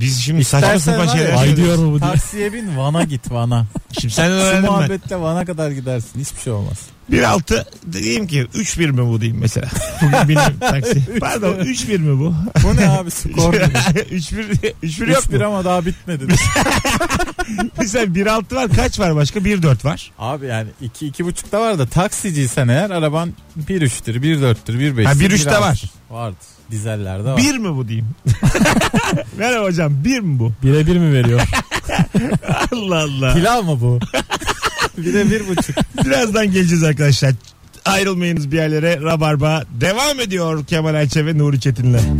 Speaker 2: biz şimdi
Speaker 4: İstersen
Speaker 2: saçma sapan
Speaker 4: var ya,
Speaker 2: şeyler
Speaker 4: Ay
Speaker 3: Ay
Speaker 2: söylüyoruz.
Speaker 3: diyor mu bu diye.
Speaker 4: Taksiye bin Van'a git *laughs* Van'a.
Speaker 2: Şimdi sen
Speaker 4: Şu
Speaker 2: öğrendim ben.
Speaker 4: muhabbetle Van'a kadar gidersin. Hiçbir şey olmaz.
Speaker 2: 1.6 diyeyim ki 3.1 mi bu diyeyim mesela. Bugün *laughs* benim taksi. Pardon 3.1 mi bu?
Speaker 4: *laughs* Bu ne
Speaker 2: *laughs*
Speaker 4: abi skor? *laughs*
Speaker 2: 3.1 3.1 yok
Speaker 4: 3-1
Speaker 2: mu?
Speaker 4: ama daha *laughs* bitmedi.
Speaker 2: Mesela 1.6 var kaç var başka? 1.4 var.
Speaker 4: Abi yani 2 iki, 2.5 da var da taksiciysen eğer araban 1.3'tür, 1.4'tür, 1.5'tür.
Speaker 2: Ha, 1.3'te var.
Speaker 4: Vardı. Dizellerde var.
Speaker 2: 1 mi bu diyeyim? *laughs* Merhaba hocam 1 mi bu?
Speaker 3: Bire bir mi
Speaker 4: *laughs*
Speaker 3: veriyor?
Speaker 2: Allah Allah.
Speaker 4: Pilav mı *laughs* bu? bir de 1.5.
Speaker 2: Birazdan geleceğiz arkadaşlar. Ayrılmayınız bir yerlere. Rabarba devam ediyor Kemal Ayça ve Nuri Çetin'le.